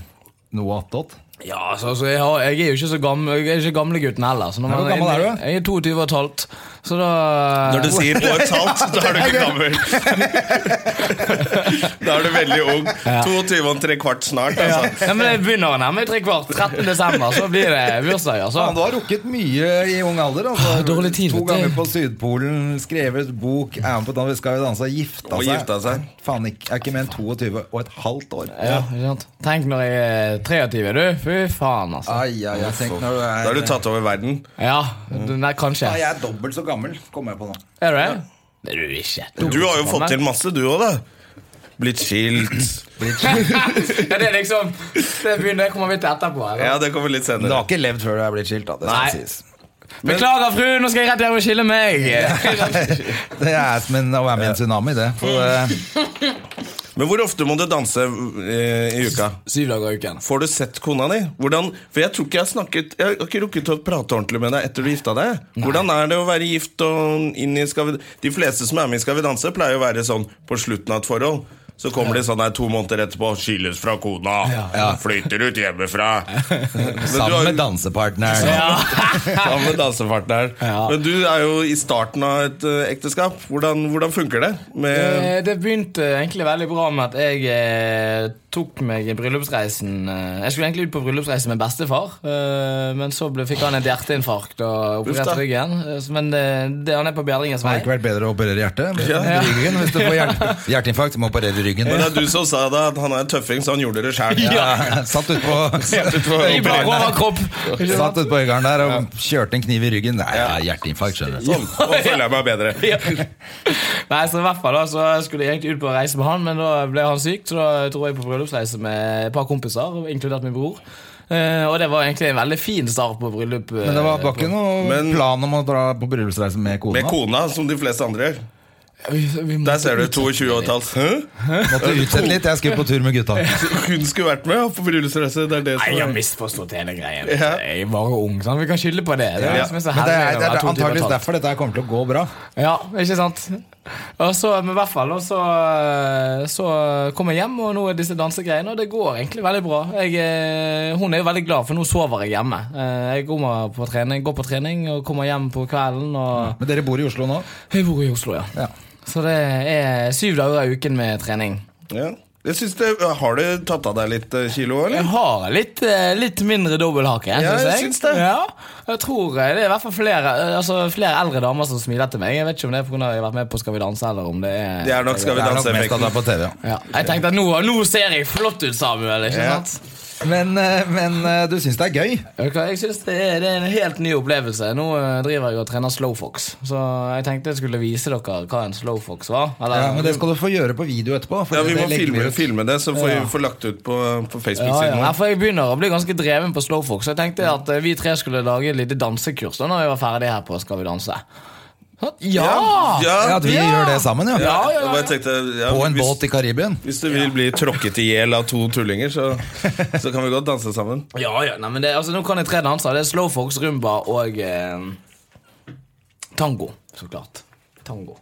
Speaker 1: noe attåt.
Speaker 3: Ja, altså, altså jeg, har, jeg er jo ikke så gammel Jeg er ikke gamlegutten heller. Så når
Speaker 1: Hvor
Speaker 3: man
Speaker 1: gammel er du?
Speaker 3: Jeg er 22 og et halvt. Så da
Speaker 2: Når du sier år et halvt, da er du
Speaker 3: (laughs)
Speaker 2: ikke gammel. Da er du veldig ung. 22 og tre kvart snart.
Speaker 3: ja.
Speaker 2: Altså.
Speaker 3: Nei, men Jeg begynner å nærme meg tre kvart. 13. desember, så blir det bursdag.
Speaker 1: Ja, du
Speaker 3: altså
Speaker 1: har rukket mye i ung alder. Altså.
Speaker 3: Ah, dårlig tid,
Speaker 1: to
Speaker 3: vet du.
Speaker 1: ganger på Sydpolen, skrevet bok, er med på Dan- vi skal jo danse og gifta
Speaker 2: Og
Speaker 1: seg.
Speaker 2: gifta seg.
Speaker 1: Faen, ikke, er ikke mer enn 22 og et halvt år.
Speaker 3: ja, ikke sant? Tenk når jeg er 23, du. Fy faen, altså.
Speaker 1: Ai, ai, jeg tenk når du
Speaker 2: Da
Speaker 1: er
Speaker 2: har du tatt over verden.
Speaker 3: Ja, Nei, kanskje.
Speaker 1: Ja, Jeg er dobbelt så gammel, kommer jeg på nå.
Speaker 3: Er du det? Det er du ikke.
Speaker 2: Du har jo fått til masse, du òg, da. Blitt skilt.
Speaker 3: ja, det er liksom Det begynner jeg kommer litt etterpå. eller?
Speaker 2: Ja, det kommer litt
Speaker 1: Du
Speaker 2: senere.
Speaker 1: har ikke levd før du er blitt skilt. Da, det,
Speaker 3: Nei.
Speaker 1: skal sies.
Speaker 3: Beklager, fru, nå skal jeg rett hjem og skille meg.
Speaker 1: (laughs) det er som en, å være med i en tsunami, det. For, eh,
Speaker 2: Men hvor ofte må du danse eh, i uka?
Speaker 3: Syv dager i uken.
Speaker 2: Får du sett kona di? Hvordan, for jeg tror ikke jeg har snakket Jeg har ikke rukket å prate ordentlig med deg etter du gifta deg. Hvordan er det å være gift og inn i skal vi, De fleste som er med i Skal vi danse, pleier å være sånn på slutten av et forhold. Så kommer de sånn her to måneder etterpå. 'Skilles fra kona. Flytter ut hjemmefra.'
Speaker 1: (laughs)
Speaker 2: Men du
Speaker 1: sammen
Speaker 2: har
Speaker 1: med
Speaker 2: jo
Speaker 1: dansepartneren.
Speaker 2: sammen med dansepartneren.
Speaker 3: Ja.
Speaker 2: Men du er jo i starten av et eh, ekteskap. Hvordan, hvordan funker det? Med,
Speaker 3: Eh, Det begynte egentlig veldig bra med at jeg eh, tok meg bryllupsreisen eh, Jeg skulle egentlig ut på bryllupsreise med bestefar, eh, men så ble, fikk han et hjerteinfarkt og
Speaker 2: Uff da.
Speaker 3: opererte ryggen. Eh, så- Men det, det, han er på bedringens
Speaker 1: Det (laughs)
Speaker 3: vei.
Speaker 1: hadde ikke vært bedre å operere hjertet. Men Ryggen, hvis du får hjert, hjerteinfarkt, så må du operere ryggen.
Speaker 2: men det er du som sa det, at han er en tøffing, så han gjorde det sjæl.
Speaker 1: (laughs) Ja, satt ut på (laughs)
Speaker 3: I bare overkropp! Ikke sant?
Speaker 1: Satt ut på Øygarden der og kjørte en kniv i ryggen. Nei, det er hjerteinfarkt, skjønner du.
Speaker 2: Sånn, nå føler jeg meg bedre.
Speaker 3: Nei, så i hvert fall da Så skulle jeg egentlig ut på reise med han, men da ble han syk, så da dro jeg på bryllupsreise med et par kompiser, inkludert min bror. Eh, og det var egentlig en veldig fin start på bryllup. eh,
Speaker 1: Men det var, var ikke noen
Speaker 2: Men-
Speaker 1: plan om å dra på bryllupsreise med kona?
Speaker 2: Med kona, som de fleste andre gjør.
Speaker 3: Vi, vi
Speaker 2: Der
Speaker 3: måtte
Speaker 2: ser du
Speaker 3: ut-
Speaker 2: 22 og et halvt. Hæ?
Speaker 1: Måtte (laughs) utsette litt, jeg skulle på tur med gutta.
Speaker 2: Hun skulle vært med ja, på bryllupsreise. Det er det
Speaker 3: Nei,
Speaker 2: som
Speaker 3: jeg har
Speaker 2: er
Speaker 3: misforstått hele greien.
Speaker 2: Ja.
Speaker 3: Jeg var jo ung, sant? Vi kan skylde på det. Det er,
Speaker 2: Ja.
Speaker 3: liksom så
Speaker 1: Men det
Speaker 3: heldig
Speaker 1: er,
Speaker 3: å
Speaker 1: det
Speaker 3: være
Speaker 1: er
Speaker 3: to timer
Speaker 1: antakeligvis
Speaker 3: talt.
Speaker 1: derfor dette her kommer til å gå bra.
Speaker 3: Ja, ikke sant? Og så, men i hvert fall, og så, så kom jeg hjem, og nå er disse dansegreiene, og det går egentlig veldig bra. Jeg, eh, hun er jo veldig glad, for nå sover jeg hjemme. Eh, Jeg kommer på trening, går på trening og kommer hjem på kvelden, og
Speaker 1: Men dere bor i Oslo nå?
Speaker 3: jeg bor i Oslo, ja.
Speaker 1: Ja.
Speaker 3: Så det er syv dager i uken med trening.
Speaker 2: ja. jeg synes det, Har du tatt av deg litt eh, kilo,
Speaker 3: Jeg
Speaker 2: eller?
Speaker 3: har litt, eh, litt mindre dobbelthake.
Speaker 2: Ja,
Speaker 3: synes
Speaker 2: jeg
Speaker 3: jeg
Speaker 2: synes det.
Speaker 3: Ja, jeg tror eh, Det er i hvert fall flere, eh, altså, flere eldre damer som smiler til meg. Jeg vet ikke om det er pga. jeg har vært med på Skal vi danse, eller om det er
Speaker 2: Det er nok Skal
Speaker 1: Det
Speaker 2: vi
Speaker 1: er nok mest at det
Speaker 2: danse-effekten.
Speaker 1: er på TV, ja.
Speaker 3: ja. Jeg tenkte at nå, nå ser jeg flott ut, Samuel. Ikke
Speaker 2: Ja.
Speaker 3: sant?
Speaker 1: Men, eh, men eh, du syns det er gøy?
Speaker 3: Vet du hva, Jeg synes det er, det er en helt ny opplevelse. Nå eh, driver jeg og trener slowfox, så jeg tenkte jeg skulle vise dere hva en slowfox var. Eller,
Speaker 1: Ja, men det skal du få gjøre på video etterpå. for
Speaker 2: Ja, Vi
Speaker 1: det
Speaker 2: må
Speaker 1: legger
Speaker 2: filme,
Speaker 1: ut.
Speaker 2: filme det, så får vi får lagt ut på, på
Speaker 3: Ja, ja.
Speaker 2: Facebook-siden
Speaker 3: Nei,
Speaker 2: vår.
Speaker 3: for Jeg begynner å bli ganske dreven på slowfox. så Jeg tenkte at eh, vi tre skulle lage et lite dansekurs da når vi var ferdige her på Skal vi danse. Sånn, Ja!
Speaker 2: Ja,
Speaker 1: Ja, At vi
Speaker 3: Ja!
Speaker 1: gjør det sammen, ja.
Speaker 3: Ja, ja, ja.
Speaker 2: Jeg bare tenkte, ja,
Speaker 1: På en
Speaker 2: hvis,
Speaker 1: båt i Karibien.
Speaker 2: Hvis du vil bli tråkket i hjel av to tullinger, så,
Speaker 1: (laughs)
Speaker 2: så kan vi godt danse sammen.
Speaker 3: ja, ja. Nei, men det, altså, nå kan jeg tre danser. Det er slowfox, rumba og eh, tango. Så klart. Tango.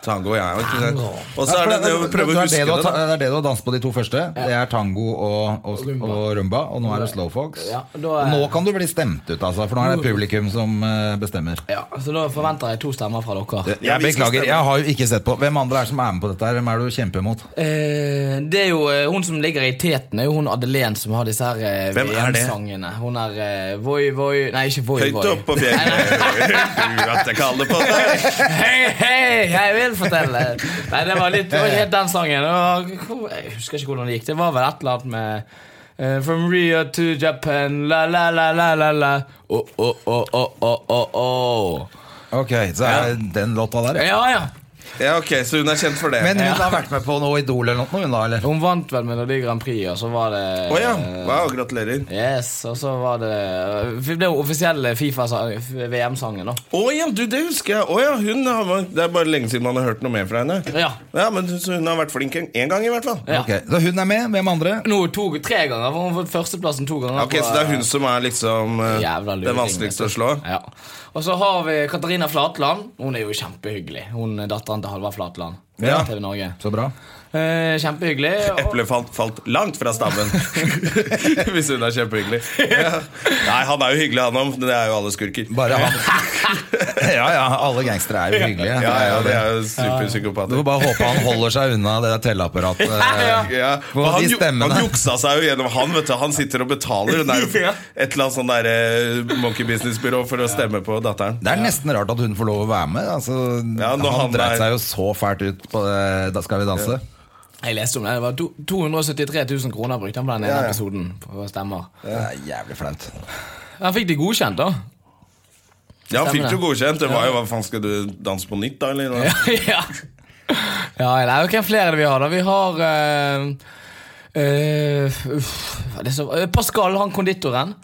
Speaker 2: Tango, ja. ikke sant?
Speaker 3: Tango.
Speaker 2: Og så er det det å prøve å
Speaker 1: Det er det
Speaker 2: huske
Speaker 1: du
Speaker 2: det.
Speaker 1: har ta-
Speaker 2: da.
Speaker 1: det er det du har danset på de to første. Det er tango og, og,
Speaker 3: Rumba.
Speaker 1: og rumba, og nå er det slowfox.
Speaker 3: Ja, da er-
Speaker 1: Nå kan du bli stemt ut, altså, for nå er det publikum som eh, bestemmer.
Speaker 3: Ja, så da forventer jeg to stemmer fra
Speaker 1: Jeg
Speaker 2: Ja,
Speaker 3: dere.
Speaker 2: vi skal
Speaker 1: beklager,
Speaker 2: stemme.
Speaker 1: jeg har jo ikke sett på. Hvem andre er det som er med på dette? her? Hvem er det du kjemper mot?
Speaker 3: Eh, det er jo eh, hun som ligger i teten, det er jo hun Adelén som har disse her eh,
Speaker 2: Hvem er det?
Speaker 3: VM-sangene. Hun er eh, Voi Voi Nei, ikke Voi
Speaker 2: Høyt
Speaker 3: Voi.
Speaker 2: oppe på
Speaker 3: (laughs)
Speaker 2: fjellet. Du at jeg kaller på deg.
Speaker 3: Hei, hei, jeg vil fortelle. Nei, det var litt det var ikke helt den sangen. Det var, jeg husker ikke hvordan det gikk. Det var vel et eller annet med Eh, From Rio to Japan, la la la la la la Oh, oh, oh, oh, oh, oh, oh.
Speaker 1: Ok, så er det den låta der. ja.
Speaker 3: Ja, ja.
Speaker 2: Ja, ok, Så hun er kjent for det.
Speaker 1: Men
Speaker 2: Å
Speaker 1: hun har vært med på noe Idol eller noe, hun da? eller?
Speaker 3: Hun vant vel Melodi Grand Prix, og så var det
Speaker 2: ja. Wow, gratulerer.
Speaker 3: Yes, og så var det Det ble jo offisielle Fifa-VM-sangen, da.
Speaker 2: Å ja, du, det husker jeg. Å ja, hun har, vært- Det er bare lenge siden man har hørt noe mer fra henne.
Speaker 3: Ja.
Speaker 2: men Så hun har vært flink en- en gang, i hvert fall.
Speaker 3: Ja.
Speaker 1: Ok, Så hun er med. Hvem andre?
Speaker 3: Nå to, tre ganger, for hun har fått førsteplassen to ganger.
Speaker 2: Ok, Så det er hun som er liksom eh,
Speaker 3: Jævla luring,
Speaker 2: det vanskeligste å
Speaker 3: vet du.
Speaker 2: slå?
Speaker 3: Ja. Og så har vi Katarina Flatland. Hun er jo kjempehyggelig. Hun er datteren til Halvard Flatland.
Speaker 1: Ja.
Speaker 3: TV Norge.
Speaker 1: Så bra.
Speaker 3: Eh, kjempehyggelig. og-
Speaker 2: Eplet falt, falt langt fra stammen. Hvis hun er kjempehyggelig. Ja. Nei, han er jo hyggelig, han òg. Det er jo alle skurker.
Speaker 1: Bare han. (laughs) Ja ja, alle gangstere er jo hyggelige.
Speaker 2: Ja, ja,
Speaker 1: Det er jo
Speaker 2: det
Speaker 1: det.
Speaker 2: er jo
Speaker 1: Du
Speaker 2: superpsykopater.
Speaker 1: får bare håpe han holder seg unna det der telleapparatet.
Speaker 2: (laughs) Ja,
Speaker 1: Hvor
Speaker 2: for han,
Speaker 1: de
Speaker 2: ju-
Speaker 1: stemmene.
Speaker 2: han juksa seg jo gjennom han, vet du. Han sitter og betaler. Hun er jo f-
Speaker 3: (laughs) Ja.
Speaker 2: et eller annet sånn der eh, monkey business-byrå for å stemme på datteren.
Speaker 1: Det er nesten rart at hun får lov å være med. Altså,
Speaker 2: Ja,
Speaker 1: han
Speaker 2: når han
Speaker 1: dreit
Speaker 2: er-
Speaker 1: seg jo så fælt ut på det Da skal vi danse.
Speaker 3: Jeg leste om det. Det var to- 273 000 kroner brukte han på den ene
Speaker 2: Ja, ja.
Speaker 3: episoden. På stemmer.
Speaker 1: Det er jævlig flaut.
Speaker 3: Han fikk de godkjent, da. (laughs)
Speaker 2: Ja, han
Speaker 3: Stemmer
Speaker 2: fikk det
Speaker 3: det.
Speaker 2: jo godkjent. Det var jo hva faen, skal du danse på nytt, da? Eller? hva?
Speaker 3: ja. ja nei, Hvem flere er det vi har, da? Vi har eh, eh, uff, hva er det så, eh, Pascal, han konditoren.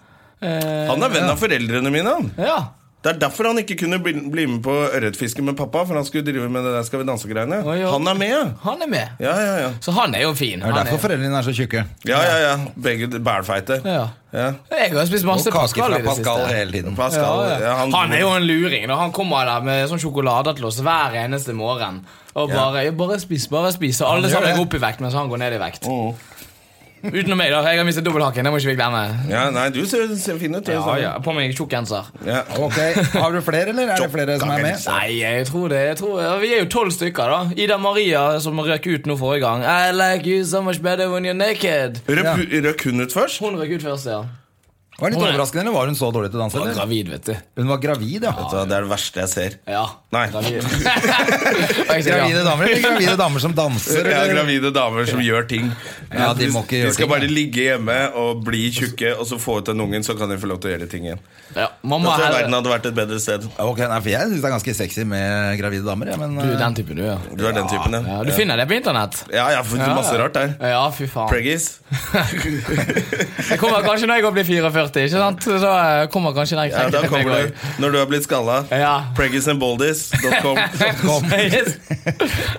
Speaker 3: Eh,
Speaker 2: Han er venn av foreldrene mine, han.
Speaker 3: Ja.
Speaker 2: Det er derfor han ikke kunne bli, bli med på ørretfiske med pappa. For han skulle drive med det der Skal vi danse-greiene.
Speaker 3: Å, ja.
Speaker 2: Han er med, ja.
Speaker 3: Han er med.
Speaker 2: Ja, ja, ja.
Speaker 3: Så han er jo fin.
Speaker 1: Det er
Speaker 3: Han
Speaker 1: derfor foreldrene dine er så tjukke.
Speaker 2: Ja, ja, ja. Begge bælfeite.
Speaker 3: Ja.
Speaker 2: Ja.
Speaker 3: Jeg har spist masse
Speaker 1: Og kake
Speaker 3: Pascal
Speaker 1: fra
Speaker 3: i det siste.
Speaker 1: Pascal hele tiden.
Speaker 2: Pascal,
Speaker 3: Ja, ja.
Speaker 2: ja,
Speaker 3: han, er jo en luring. Da. Han kommer der med sånn sjokolader til oss hver eneste morgen. Og bare, ja. bare spis, bare spis. Og alle
Speaker 1: gjør
Speaker 3: sammen
Speaker 1: det.
Speaker 3: går opp i vekt, mens han går ned i vekt.
Speaker 2: Mm.
Speaker 3: Utenom meg, da. Jeg har mistet dobbelthaken. Det må ikke vi glemme.
Speaker 2: ja, Nei, du ser, ser fin ut. du,
Speaker 3: Ja,
Speaker 2: sånn.
Speaker 3: ja. På meg tjukk genser.
Speaker 2: Ja.
Speaker 1: Ok, Har du flere, eller er det flere som er med?
Speaker 3: Nei, jeg tror det. Jeg tror, ja, vi er jo tolv stykker, da. Ida Maria, som røk ut nå forrige gang. I like you so much better when you're naked.
Speaker 2: Røp, Røk hun ut først?
Speaker 3: Hun røk ut først, ja.
Speaker 1: Var det litt overraskende, eller var hun så dårlig til å danse?
Speaker 3: Hun var
Speaker 1: Eller?
Speaker 3: gravid, vet du.
Speaker 1: Hun var gravid, ja.
Speaker 2: Vet du hva, Det er det verste jeg ser.
Speaker 3: Ja.
Speaker 2: Nei.
Speaker 3: (laughs) Gravid. Jeg sier ja.
Speaker 1: Gravide damer eller gravide damer som danser?
Speaker 2: Ja,
Speaker 1: Eller?
Speaker 2: gravide damer som gjør ting.
Speaker 1: Ja, de må ikke gjøre
Speaker 2: de skal
Speaker 1: ting,
Speaker 2: bare
Speaker 1: ja.
Speaker 2: ligge hjemme og bli tjukke, og så få ut den ungen, så kan de få lov til å gjøre ting igjen.
Speaker 3: Ja,
Speaker 2: Da
Speaker 3: mamma
Speaker 2: tror jeg
Speaker 3: er
Speaker 2: verden hadde vært et bedre sted.
Speaker 1: Ok, nei, for Jeg syns det er ganske sexy med gravide damer. Ja, men, eh,
Speaker 3: Du er den typen, du, ja.
Speaker 2: Du er den typen,
Speaker 3: ja
Speaker 2: ja.
Speaker 3: du finner det på internett.
Speaker 2: Ja, jeg har funnet masse rart der.
Speaker 3: Ja, fy faen.
Speaker 2: Preggies.
Speaker 3: Jeg kommer kanskje når jeg går blir 44, ikke sant? Så eh, kommer kanskje den (laughs)
Speaker 2: Ja, da
Speaker 3: krenken til meg
Speaker 2: kommer
Speaker 3: òg.
Speaker 2: du. Når du har blitt skalla.
Speaker 3: Ja.
Speaker 2: Preggisandboldies.com.
Speaker 1: Kom.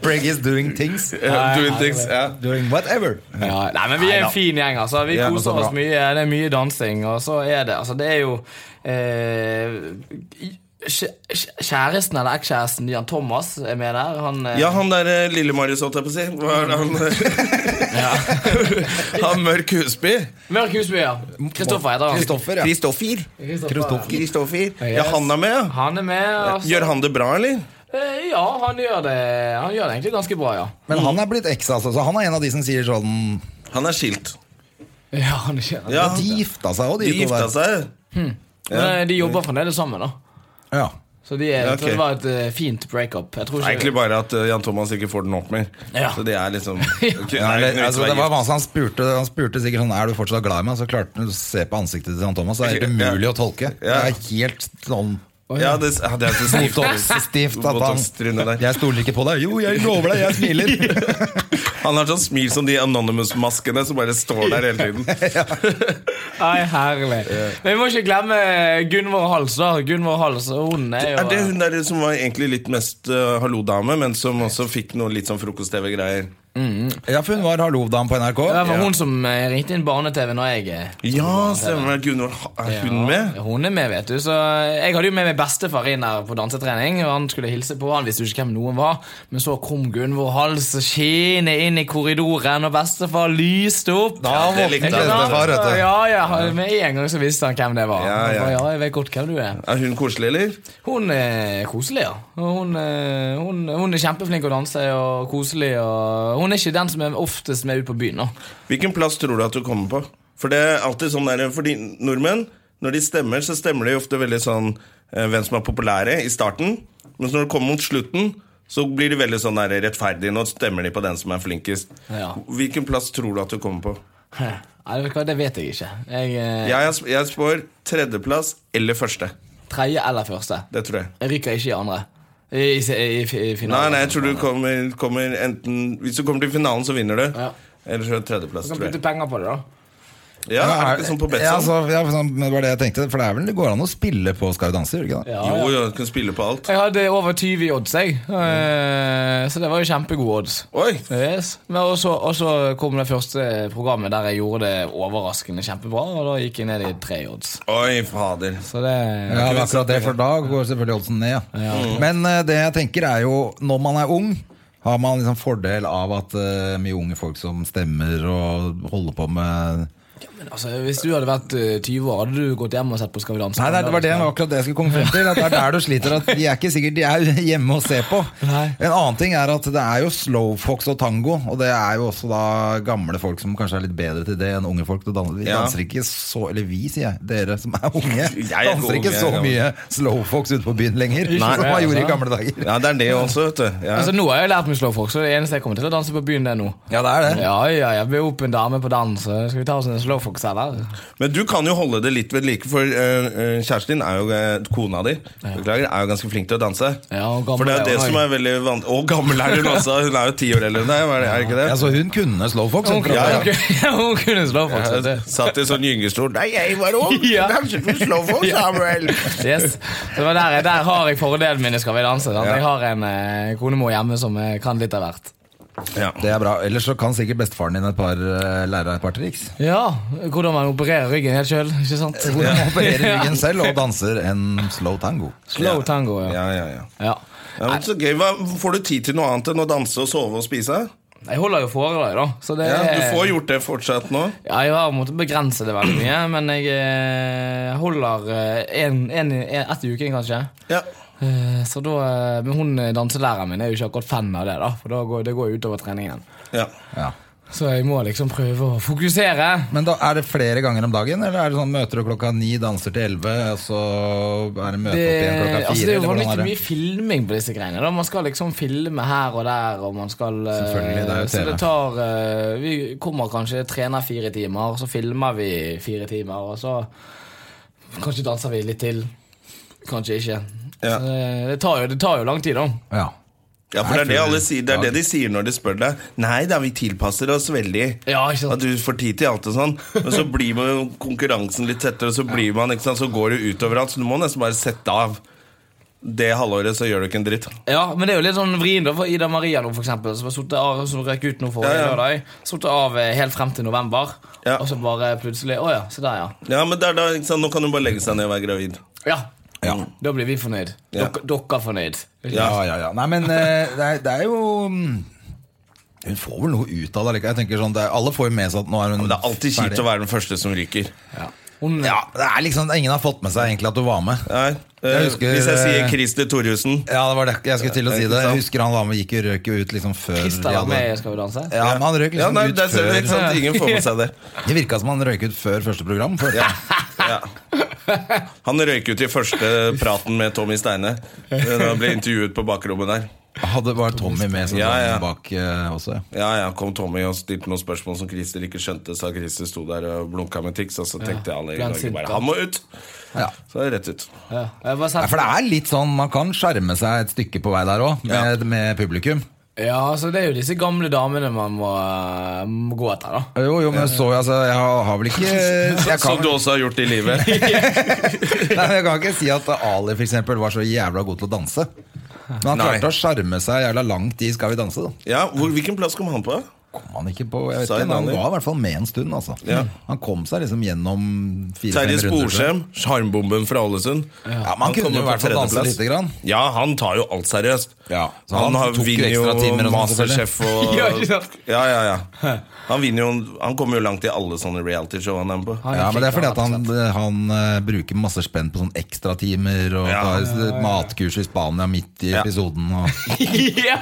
Speaker 1: Prig is doing things.
Speaker 2: Ja, Doing things. Ja.
Speaker 1: Doing whatever.
Speaker 3: Ja, nei, men vi er en
Speaker 1: Neida.
Speaker 3: fin gjeng, altså. Vi
Speaker 1: Ja, men så
Speaker 3: koser oss
Speaker 1: bra.
Speaker 3: mye. Det er mye dansing, og så er det Altså, det er jo eh, kjæ- kjæ- Kjæresten eller ekskjæresten Jan Thomas er med der. Han, eh,
Speaker 2: Ja, han der eh, lille Marius, holdt jeg på å si. Hva er det han (laughs) Han Mørk Husby.
Speaker 3: (laughs) Mørk Husby, ja. Kristoffer heter han.
Speaker 1: Kristoffer, ja.
Speaker 2: Kristoffer.
Speaker 3: Kristoffer, ja.
Speaker 2: Kristoffer. Ja, han er med, ja.
Speaker 3: Han er med. og så-
Speaker 2: Gjør han det bra, eller?
Speaker 3: Eh, Ja, han gjør det Han gjør det egentlig ganske bra, ja.
Speaker 1: Men han er blitt eks, altså. Så han er en av de som sier sånn
Speaker 2: Han er skilt.
Speaker 3: Ja, han gjør det
Speaker 2: Ja,
Speaker 1: De gifta seg òg, de,
Speaker 2: De gifta
Speaker 1: to der.
Speaker 2: seg.
Speaker 3: Men, eh, De jobber fremdeles sammen, da.
Speaker 1: Ja.
Speaker 3: Så de er,
Speaker 2: Ja,
Speaker 3: jeg tror
Speaker 2: ok.
Speaker 3: det var et eh, fint breakup. Jeg tror
Speaker 2: Det
Speaker 3: ikke
Speaker 2: er Egentlig bare at eh, Jan Thomas ikke får den opp mer.
Speaker 3: Ja.
Speaker 2: Så det er liksom Ok,
Speaker 1: Ja,
Speaker 2: nei,
Speaker 1: eller,
Speaker 2: ikke noe vits
Speaker 1: altså,
Speaker 2: å være
Speaker 1: det var
Speaker 2: gift.
Speaker 1: vanskelig. Han spurte, han spurte sikkert sånn Er du fortsatt glad i meg? Så klarte han å se på ansiktet til han Thomas. Det er helt
Speaker 2: Ja.
Speaker 1: umulig å tolke. Det
Speaker 2: Ja.
Speaker 1: er helt sånn
Speaker 2: Ja, det, ja, det er så stivt.
Speaker 1: Botox-stivt at
Speaker 2: Botox-trynet
Speaker 1: han
Speaker 2: der.
Speaker 1: Jeg stoler ikke på deg. Jo, jeg lover deg, jeg smiler.
Speaker 2: (laughs) Han har sånn smil som de Anonymous-maskene som bare står der hele tiden.
Speaker 3: Nei, herlig. Men vi må ikke glemme Gunvor Hals, da. Gunvor Hals, hun er jo
Speaker 2: Er det hun der som var egentlig litt mest eh, hallo-dame, men som også fikk noe litt sånn frokost-TV-greier?
Speaker 1: Ja, for hun var hallo-dam på NRK.
Speaker 3: det var
Speaker 2: ja.
Speaker 3: hun som eh, ringte inn barne-TV når jeg eh,
Speaker 2: Ja, stemmer det. Gunvor, er hun med?
Speaker 3: Ja, Hun er med, vet du. Så eh, jeg hadde jo med meg bestefar inn her på dansetrening. Og Han skulle hilse på, han visste jo ikke hvem noen var. Men så kom Gunvor Hals skiende inn i korridoren, og bestefar lyste opp.
Speaker 1: Da
Speaker 2: det likte
Speaker 1: våknet
Speaker 2: jeg.
Speaker 1: bestefar, vet du.
Speaker 3: Ja, ja, Med en gang så visste han hvem det var.
Speaker 2: Ja,
Speaker 3: Han
Speaker 2: ja.
Speaker 3: ba, ja jeg vet godt hvem du er.
Speaker 2: Er hun koselig, eller?
Speaker 3: Hun er koselig, ja. Og Hun, eh, hun, hun er kjempeflink å danse og koselig. Og hun er ikke den som er oftest med ut på byen. Da.
Speaker 2: Hvilken plass tror du at du kommer på? For det er alltid sånn der, fordi nordmenn, når de stemmer, så stemmer de ofte veldig sånn eh, hvem som er populære i starten. Mens når det kommer mot slutten, så blir de veldig sånn der, rettferdige. Nå stemmer de på den som er flinkest.
Speaker 3: Ja.
Speaker 2: Hvilken plass tror du at du kommer på?
Speaker 3: (laughs) Nei, vet du hva, det vet jeg ikke. Jeg, eh,
Speaker 2: Jeg, er- jeg spår tredjeplass eller første.
Speaker 3: Tredje eller første.
Speaker 2: Det tror jeg.
Speaker 3: Jeg ryker ikke i andre. I, i, i, i
Speaker 2: Nei,
Speaker 3: finalen.
Speaker 2: nei, jeg tror du kommer, kommer enten Hvis du kommer til finalen, så vinner du.
Speaker 3: Ja.
Speaker 2: Eller så er det tredjeplass,
Speaker 3: Du kan
Speaker 2: tror
Speaker 3: putte
Speaker 2: jeg.
Speaker 3: penger på det, da.
Speaker 2: Ja, er det ikke sånn på
Speaker 1: Ja,
Speaker 2: Betson?
Speaker 1: altså, ja, for sånn, men det var det jeg tenkte. For det er vel det går an å spille på Skal vi danse? gjør det Ikke det?
Speaker 3: Ja,
Speaker 2: Jo,
Speaker 3: ja.
Speaker 2: jo, du kan spille på alt.
Speaker 3: Jeg hadde over 20 i odds, jeg.
Speaker 2: Mm.
Speaker 3: Eh, Så det var jo kjempegode odds.
Speaker 2: Oi!
Speaker 3: Yes. Men også, også kom det første programmet der jeg gjorde det overraskende kjempebra, og da gikk jeg ned i tre odds.
Speaker 2: Oi, fader.
Speaker 3: Så det
Speaker 1: Ja, det er akkurat det, for da går selvfølgelig oddsen ned. Ja. Men eh, det jeg tenker er jo, når man er ung, har man liksom fordel av at eh, mye unge folk som stemmer og holder på med
Speaker 3: Men altså, Hvis du hadde vært eh, 20 år, hadde du gått hjem og sett på Skal vi danse?
Speaker 1: Nei, nei, det var det, det var akkurat det jeg skulle komme frem til. At det er der du sliter. At de er ikke sikkert de er (laughs) hjemme og ser på.
Speaker 3: Nei.
Speaker 1: En annen ting er at det er jo slowfox og tango, og det er jo også da gamle folk som kanskje er litt bedre til det enn unge folk. til å danse. Vi
Speaker 2: Ja.
Speaker 1: danser ikke så Eller vi, sier jeg. Dere som er unge.
Speaker 2: (laughs) Jeg er ikke
Speaker 1: Danser ikke
Speaker 2: unge,
Speaker 1: så
Speaker 2: jeg er
Speaker 1: mye slowfox ute på byen lenger,
Speaker 3: Nei.
Speaker 1: som man gjorde
Speaker 3: Altså.
Speaker 1: i gamle dager.
Speaker 2: Ja, det er det også, vet du. Ja.
Speaker 3: Altså, Nå har jeg lært meg slowfox, så det eneste jeg kommer til å danse på byen, det er nå.
Speaker 1: Ja, det er det.
Speaker 3: Ja, ja, jeg blir opp en dame på dans. så Skal vi ta oss en slowfox, eller?
Speaker 2: Men du kan jo holde det litt ved like, for eh, eh, kjæresten din, er jo, eh, kona di, beklager, er jo ganske flink til å danse.
Speaker 3: Ja, og gammel
Speaker 2: For det er
Speaker 3: er
Speaker 2: jo det
Speaker 3: hun
Speaker 2: som
Speaker 3: også.
Speaker 2: er veldig vanskelig Og gammel er hun også! Hun er jo ti år eldre enn deg, hva er det- er det ikke det?
Speaker 1: Ja, så hun kunne slowfox? hun,
Speaker 3: Hun
Speaker 1: fra
Speaker 3: kunne,
Speaker 1: før,
Speaker 2: ja.
Speaker 1: ja.
Speaker 3: (laughs) hun kunne slowfox. vet
Speaker 2: Jeg
Speaker 3: du.
Speaker 2: satt i sånn gyngestol. Nei, jeg var ung!
Speaker 3: (laughs) Ja.
Speaker 2: Kanskje du slår
Speaker 3: (laughs)
Speaker 2: for Samuel!
Speaker 3: Yes. Det var der, jeg- der har jeg fordelen min i Skal vi danse. Sant? Jeg har en eh, konemor hjemme som eh, kan litt av hvert.
Speaker 2: Ja.
Speaker 1: Det er bra. Ellers så kan sikkert bestefaren din et par, eh, lære deg et par triks.
Speaker 3: Ja, hvordan man opererer ryggen helt sjøl, ikke sant?
Speaker 1: Hvor man opererer
Speaker 2: (laughs)
Speaker 1: ryggen selv og danser en slow tango.
Speaker 3: Slow tango, ja.
Speaker 2: Ja, ja, ja.
Speaker 3: ja.
Speaker 2: ja men så gøy. Hva, får du tid til noe annet enn å danse og sove og spise?
Speaker 3: Jeg holder jo foredrag, da. Så det
Speaker 2: Ja, du får
Speaker 3: er
Speaker 2: gjort det fortsatt nå.
Speaker 3: ja, jeg har måttet begrense det veldig mye, men jeg eh, holder eh, en, en, en, ett i uken, kanskje.
Speaker 2: Ja.
Speaker 3: Eh, Så da, eh, men hun eh, danselæreren min er jo ikke akkurat fan av det, da. For da går, det går jo utover treningen.
Speaker 2: ja.
Speaker 1: Ja.
Speaker 3: Så jeg må liksom prøve å fokusere.
Speaker 1: Men da er det flere ganger om dagen, eller er det sånn møter du klokka ni, danser til elleve, og så er det møte opp igjen klokka fire?
Speaker 3: altså, det er jo
Speaker 1: eller hvordan
Speaker 3: vanvittig
Speaker 1: er det?
Speaker 3: mye filming på disse greiene. Da. Man skal liksom filme her og der, og man skal eh,
Speaker 1: Selvfølgelig, det er jo
Speaker 3: Så
Speaker 1: TV.
Speaker 3: det tar eh, Vi kommer kanskje, trener fire timer, så filmer vi fire timer, og så Kanskje danser vi litt til. Kanskje ikke.
Speaker 2: Ja.
Speaker 3: Så det, det, tar jo, det tar jo lang tid, da.
Speaker 1: Ja.
Speaker 2: Ja, for det er det alle sier Det er
Speaker 1: Ja.
Speaker 2: det de sier når de spør deg. Nei da, vi tilpasser oss veldig.
Speaker 3: Ja, ikke sant?
Speaker 2: At du får tid til alt og sånn. Men så blir man jo konkurransen litt tettere, og så blir man, ikke sant, så går det utover alt. Så du må nesten bare sette av. Det halvåret så gjør du ikke en dritt.
Speaker 3: Ja, men det er jo litt sånn vrien da for Ida Maria nå for eksempel Som, har suttet av, som røk ut nå for
Speaker 2: Ja, ja.
Speaker 3: lørdag Suttet av eh, helt frem til november
Speaker 2: Ja.
Speaker 3: Og så bare plutselig, åja, se der ja
Speaker 2: Ja, men det er da, ikke sant, Nå kan du bare legge seg ned og være gravid.
Speaker 3: Ja,
Speaker 1: Ja.
Speaker 2: Mm.
Speaker 3: da blir vi fornøyd
Speaker 2: Ja.
Speaker 3: Dere, dere fornøyd
Speaker 1: ja, ja, ja. Nei, men eh, det er, det er jo mm, Hun får vel noe ut av det. Ikke? Jeg tenker sånn, det er, Alle får jo med seg at nå er hun
Speaker 2: Men det er alltid kjipt å være den første som ryker.
Speaker 3: Hun,
Speaker 1: Ja, det er liksom, Ingen har fått med seg egentlig at du var med.
Speaker 2: Nei, eh,
Speaker 1: Jeg husker,
Speaker 2: hvis jeg
Speaker 1: eh,
Speaker 2: sier Christer Thorjussen
Speaker 1: Ja, det var det jeg skulle til å
Speaker 2: Ja,
Speaker 1: si
Speaker 2: ikke
Speaker 1: det. Jeg
Speaker 2: sant?
Speaker 1: husker han var med, gikk jo røk jo ut liksom før
Speaker 3: Kristian
Speaker 1: de
Speaker 3: var
Speaker 1: hadde-
Speaker 3: med, i skal vi danse
Speaker 1: Ja, men han røk
Speaker 2: ja,
Speaker 1: liksom
Speaker 2: nei,
Speaker 1: ut
Speaker 2: der ser du,
Speaker 1: før
Speaker 2: ikke sant? Ingen får med seg det.
Speaker 1: Det virka som han røyk ut før første program. For,
Speaker 2: Ja. Ja. Han røyk ut i første praten med Tommy Steine. eh, Da han ble intervjuet på bakrommet der.
Speaker 1: Hadde Var Tommy med som
Speaker 2: Ja,
Speaker 1: var
Speaker 2: ja.
Speaker 1: bak eh, også? Ja.
Speaker 2: Ja, ja, kom Tommy og stilte noen spørsmål som Christer ikke skjønte, sa Christer sto der og blunka med tics, og så tenkte alle i
Speaker 3: ble han
Speaker 2: Norge
Speaker 3: sint,
Speaker 2: bare
Speaker 3: da?
Speaker 2: Han må ut!
Speaker 1: Ja.
Speaker 2: Så er det rett
Speaker 1: (laughs)
Speaker 2: ut.
Speaker 3: ja. Jeg bare
Speaker 1: Nei,
Speaker 3: sett
Speaker 1: for det er litt sånn, Man kan skjerme seg et stykke på vei der òg, med, med publikum.
Speaker 3: Ja, så det er jo disse gamle damene man må, eh, må gå
Speaker 1: (laughs)
Speaker 3: etter da
Speaker 1: Jo, jo, men jeg så altså, jeg har, har
Speaker 2: (laughs)
Speaker 1: vel ikke jeg
Speaker 2: Som
Speaker 1: kan,
Speaker 2: du også har gjort i livet.
Speaker 1: (laughs) nei, jeg kan ikke si at Ali for eksempel, var så jævla god til å danse. Men han
Speaker 2: Nei.
Speaker 1: klarte å sjarme seg jævla langt i Skal vi danse. da
Speaker 2: Ja, hvor, Hvilken plass kom han på?
Speaker 1: Kom Han ikke på, jeg vet
Speaker 2: Sa
Speaker 1: ikke,
Speaker 2: en
Speaker 1: men han
Speaker 2: Ali.
Speaker 1: var i hvert fall med en stund. altså
Speaker 2: Ja.
Speaker 1: Han kom seg liksom gjennom fire-fem
Speaker 2: Terje
Speaker 1: runder. tror jeg.
Speaker 2: Sporsem, sjarmbomben fra Ålesund.
Speaker 1: Ja, men han kunne
Speaker 2: kommer
Speaker 1: jo i
Speaker 2: på
Speaker 1: hvert fall danse
Speaker 2: tredjeplass.
Speaker 1: lite grann.
Speaker 2: Ja, han tar jo alt seriøst.
Speaker 1: Ja, så
Speaker 2: han
Speaker 1: han
Speaker 2: har-
Speaker 1: tok jo
Speaker 2: vinner jo
Speaker 1: ekstra timer og sånn,
Speaker 2: Masterchef og
Speaker 3: Ja, ikke sant?
Speaker 2: Ja, ja, ja. Han, vinner jo, han kommer jo langt i alle sånne realityshow han er med på.
Speaker 3: Han
Speaker 1: Ja, men Det er fordi
Speaker 3: flink,
Speaker 1: at han, han eh, bruker masse spenn på sånn ekstratimer og
Speaker 2: Ja.
Speaker 1: tar matkurs i Spania midt i
Speaker 2: Ja.
Speaker 1: episoden. Og,
Speaker 3: ja.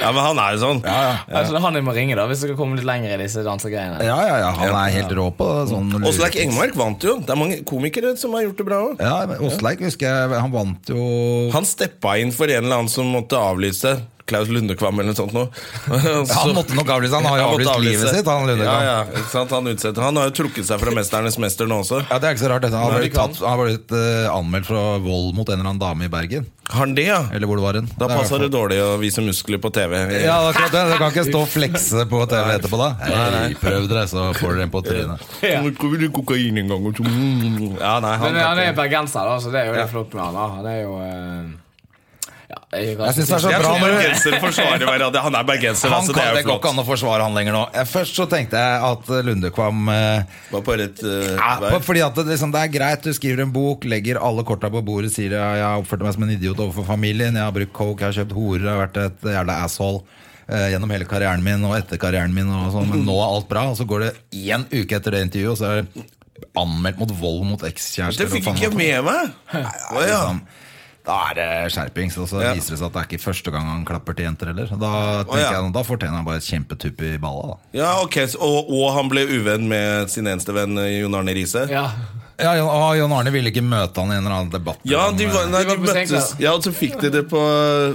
Speaker 2: Ja, men han er jo sånn.
Speaker 3: (laughs) Altså, det er han jeg må ringe da Hvis dere kommer litt lenger i disse dansegreiene
Speaker 1: ja, ja, ja, Han er helt rå på sånn
Speaker 2: Åsleik Engmark vant jo. Det er mange komikere som har gjort det bra òg.
Speaker 1: Ja, men Åsleik husker jeg, han vant jo
Speaker 2: Han steppa inn for en eller annen som måtte avlyse. Klaus Lundekvam eller noe sånt noe. (laughs)
Speaker 1: Han måtte nok avlyse. Han har jo
Speaker 2: Han
Speaker 1: avlyst
Speaker 2: måtte avlyse.
Speaker 1: livet sitt, han Lundekvam.
Speaker 2: Ja, ja, ikke sant? Han utsetter. Han har jo trukket seg fra 'Mesternes mester' nå også.
Speaker 1: Ja, Det er ikke så rart. dette Han har
Speaker 2: Nei,
Speaker 1: blitt,
Speaker 2: det kan.
Speaker 1: tatt, han har blitt eh, anmeldt for vold mot en eller annen dame i Bergen.
Speaker 2: Har han det, ja?
Speaker 1: Eller hvor det var hen.
Speaker 2: Da
Speaker 1: Det er i
Speaker 2: passer
Speaker 1: hvert
Speaker 2: det dårlig å vise muskler på TV.
Speaker 1: fall- Ja, det er akkurat det. Du kan ikke stå og flekse på TV etterpå, da. Nei, prøv dere, så får dere en på trynet.
Speaker 2: Ja. Kokain en gang og så- Ja, nei, han
Speaker 3: Men eh,
Speaker 2: kan
Speaker 3: han er
Speaker 2: ikke-
Speaker 3: bergenser, da, så det er jo det flott med han. da Han er jo eh, ja, jeg,
Speaker 1: Jeg synes det er så
Speaker 2: Jeg
Speaker 1: bra
Speaker 2: tror
Speaker 1: når du
Speaker 2: bergensere forsvarer hverandre. Han er bergenser,
Speaker 1: han
Speaker 2: altså. Det
Speaker 1: kan,
Speaker 2: er
Speaker 1: det
Speaker 2: jo
Speaker 1: går ikke
Speaker 2: flott.
Speaker 1: an å forsvare han lenger nå. Eh, Først så tenkte jeg at eh, Lundekvam eh,
Speaker 2: Var på rett eh,
Speaker 1: ja,
Speaker 2: vei.
Speaker 1: Fordi at det, liksom, det er greit, du skriver en bok, legger alle korta på bordet, sier ja, jeg har oppført meg som en idiot overfor familien, jeg har brukt coke, jeg har kjøpt horer, jeg har vært et jævla asshole eh, gjennom hele karrieren min og etter karrieren min, og sånn, men nå er alt bra. Og så går det én uke etter det intervjuet, og så er det anmeldt mot vold mot ekskjærester.
Speaker 2: Det fikk
Speaker 1: og faen
Speaker 2: ikke jeg
Speaker 1: meg.
Speaker 2: med meg.
Speaker 1: Det
Speaker 2: Å,
Speaker 1: er
Speaker 2: ja.
Speaker 1: liksom, da er det skjerpings, og så
Speaker 2: Ja.
Speaker 1: viser det seg at det er ikke første gang han klapper til jenter heller. Da,
Speaker 2: Å,
Speaker 1: tenker
Speaker 2: ja.
Speaker 1: jeg, da fortjener han bare et kjempetupp i balla, da.
Speaker 2: Ja, ok, så- og, og han ble uvenn med sin eneste venn eh, Jon Arne Riise?
Speaker 3: ja.
Speaker 1: Ja, Jon- og Jon Arne ville ikke møte han i en eller annen debatt.
Speaker 2: Ja,
Speaker 1: om,
Speaker 2: de, var,
Speaker 1: eh,
Speaker 2: nei, de
Speaker 3: De var på
Speaker 2: møttes
Speaker 3: Senkveld.
Speaker 2: Ja, og så fikk de det på,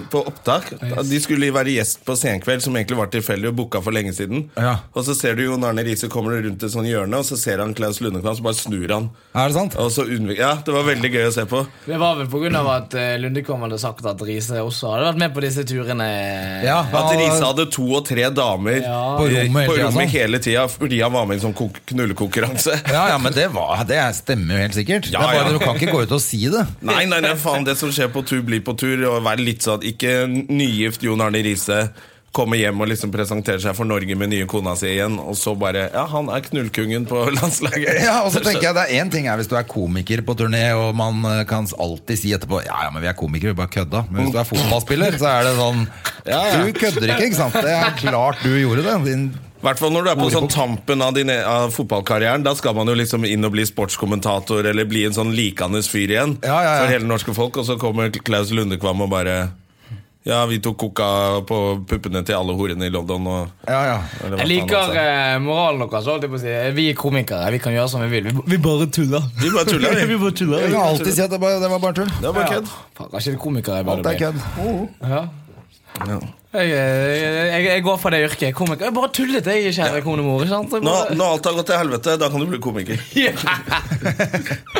Speaker 2: på opptak.
Speaker 3: Yes.
Speaker 2: De skulle være gjest på Senkveld, som egentlig var tilfeldig og booka for lenge siden.
Speaker 1: Ja.
Speaker 2: Og så ser du Jon Arne Riise kommer rundt et sånt hjørne, og så ser han Klaus Lundekvam, så bare snur han.
Speaker 1: Er det sant?
Speaker 2: Og så unnvik- ja, Det var veldig gøy å se på.
Speaker 3: Det var vel pga. at eh, Lundekvam hadde sagt at Riise også hadde vært med på disse turene.
Speaker 1: Ja,
Speaker 2: At
Speaker 1: han-
Speaker 2: Riise hadde to og tre damer
Speaker 3: Ja.
Speaker 1: På
Speaker 2: eh,
Speaker 1: rommet hele
Speaker 2: på
Speaker 1: tiden,
Speaker 2: rommet
Speaker 1: sånn.
Speaker 2: hele tida fordi han var med i en sånn kok- knullekonkurranse.
Speaker 1: Ja, ja, men det, var, det stemmer jo helt sikkert. det
Speaker 2: Ja,
Speaker 1: er bare,
Speaker 2: ja.
Speaker 1: Du kan ikke gå ut og si det.
Speaker 2: Nei, nei, nei, faen, det som skjer på tur, blir på tur. Og vær litt sånn, Ikke nygift Jon Arne Riise kommer hjem og liksom presenterer seg for Norge med nye kona si igjen, og så bare Ja, han er knullkongen på (laughs) landslaget.
Speaker 1: (laughs) Ja, og så tenker jeg det er en ting er Hvis du er komiker på turné, og man eh, kan alltid si etterpå Ja, ja, men vi er komikere, vi bare kødda. Men hvis du er fotballspiller, så er det sånn Du kødder ikke, ikke sant? Det er klart du gjorde det. Din,
Speaker 2: I hvert fall når du er på sånn tampen av, din, av fotballkarrieren. Da skal man jo liksom inn og bli sportskommentator eller bli en sånn likandes fyr igjen
Speaker 1: Ja, ja, ja.
Speaker 2: for hele norske folk, og så kommer Klaus Lundekvam og bare Ja, vi tok koka på puppene til alle horene i London og
Speaker 1: ja, ja.
Speaker 2: eller hva
Speaker 3: Jeg
Speaker 2: faen han
Speaker 3: liker
Speaker 2: sa.
Speaker 3: eh, moralen deres. holdt jeg på å si Vi er komikere. Vi kan gjøre som vi vil. Vi, vi bare tuller.
Speaker 2: Vi bare tuller, vi.
Speaker 3: bare tuller.
Speaker 1: Du kan alltid si at det, bare, det var bare tull.
Speaker 2: Det er bare kødd.
Speaker 3: Faen, er ikke det komikere jeg bare
Speaker 1: Alt er
Speaker 3: blir?
Speaker 1: kødd.
Speaker 3: Ja. Jeg, jeg, jeg, jeg går for det yrket. Komiker. Jeg bare tullet, jeg, kjære konemor. Ikke sant? Jeg
Speaker 2: Nå,
Speaker 3: bare...
Speaker 2: nå alt har gått til helvete, da kan du bli komiker.
Speaker 3: (laughs)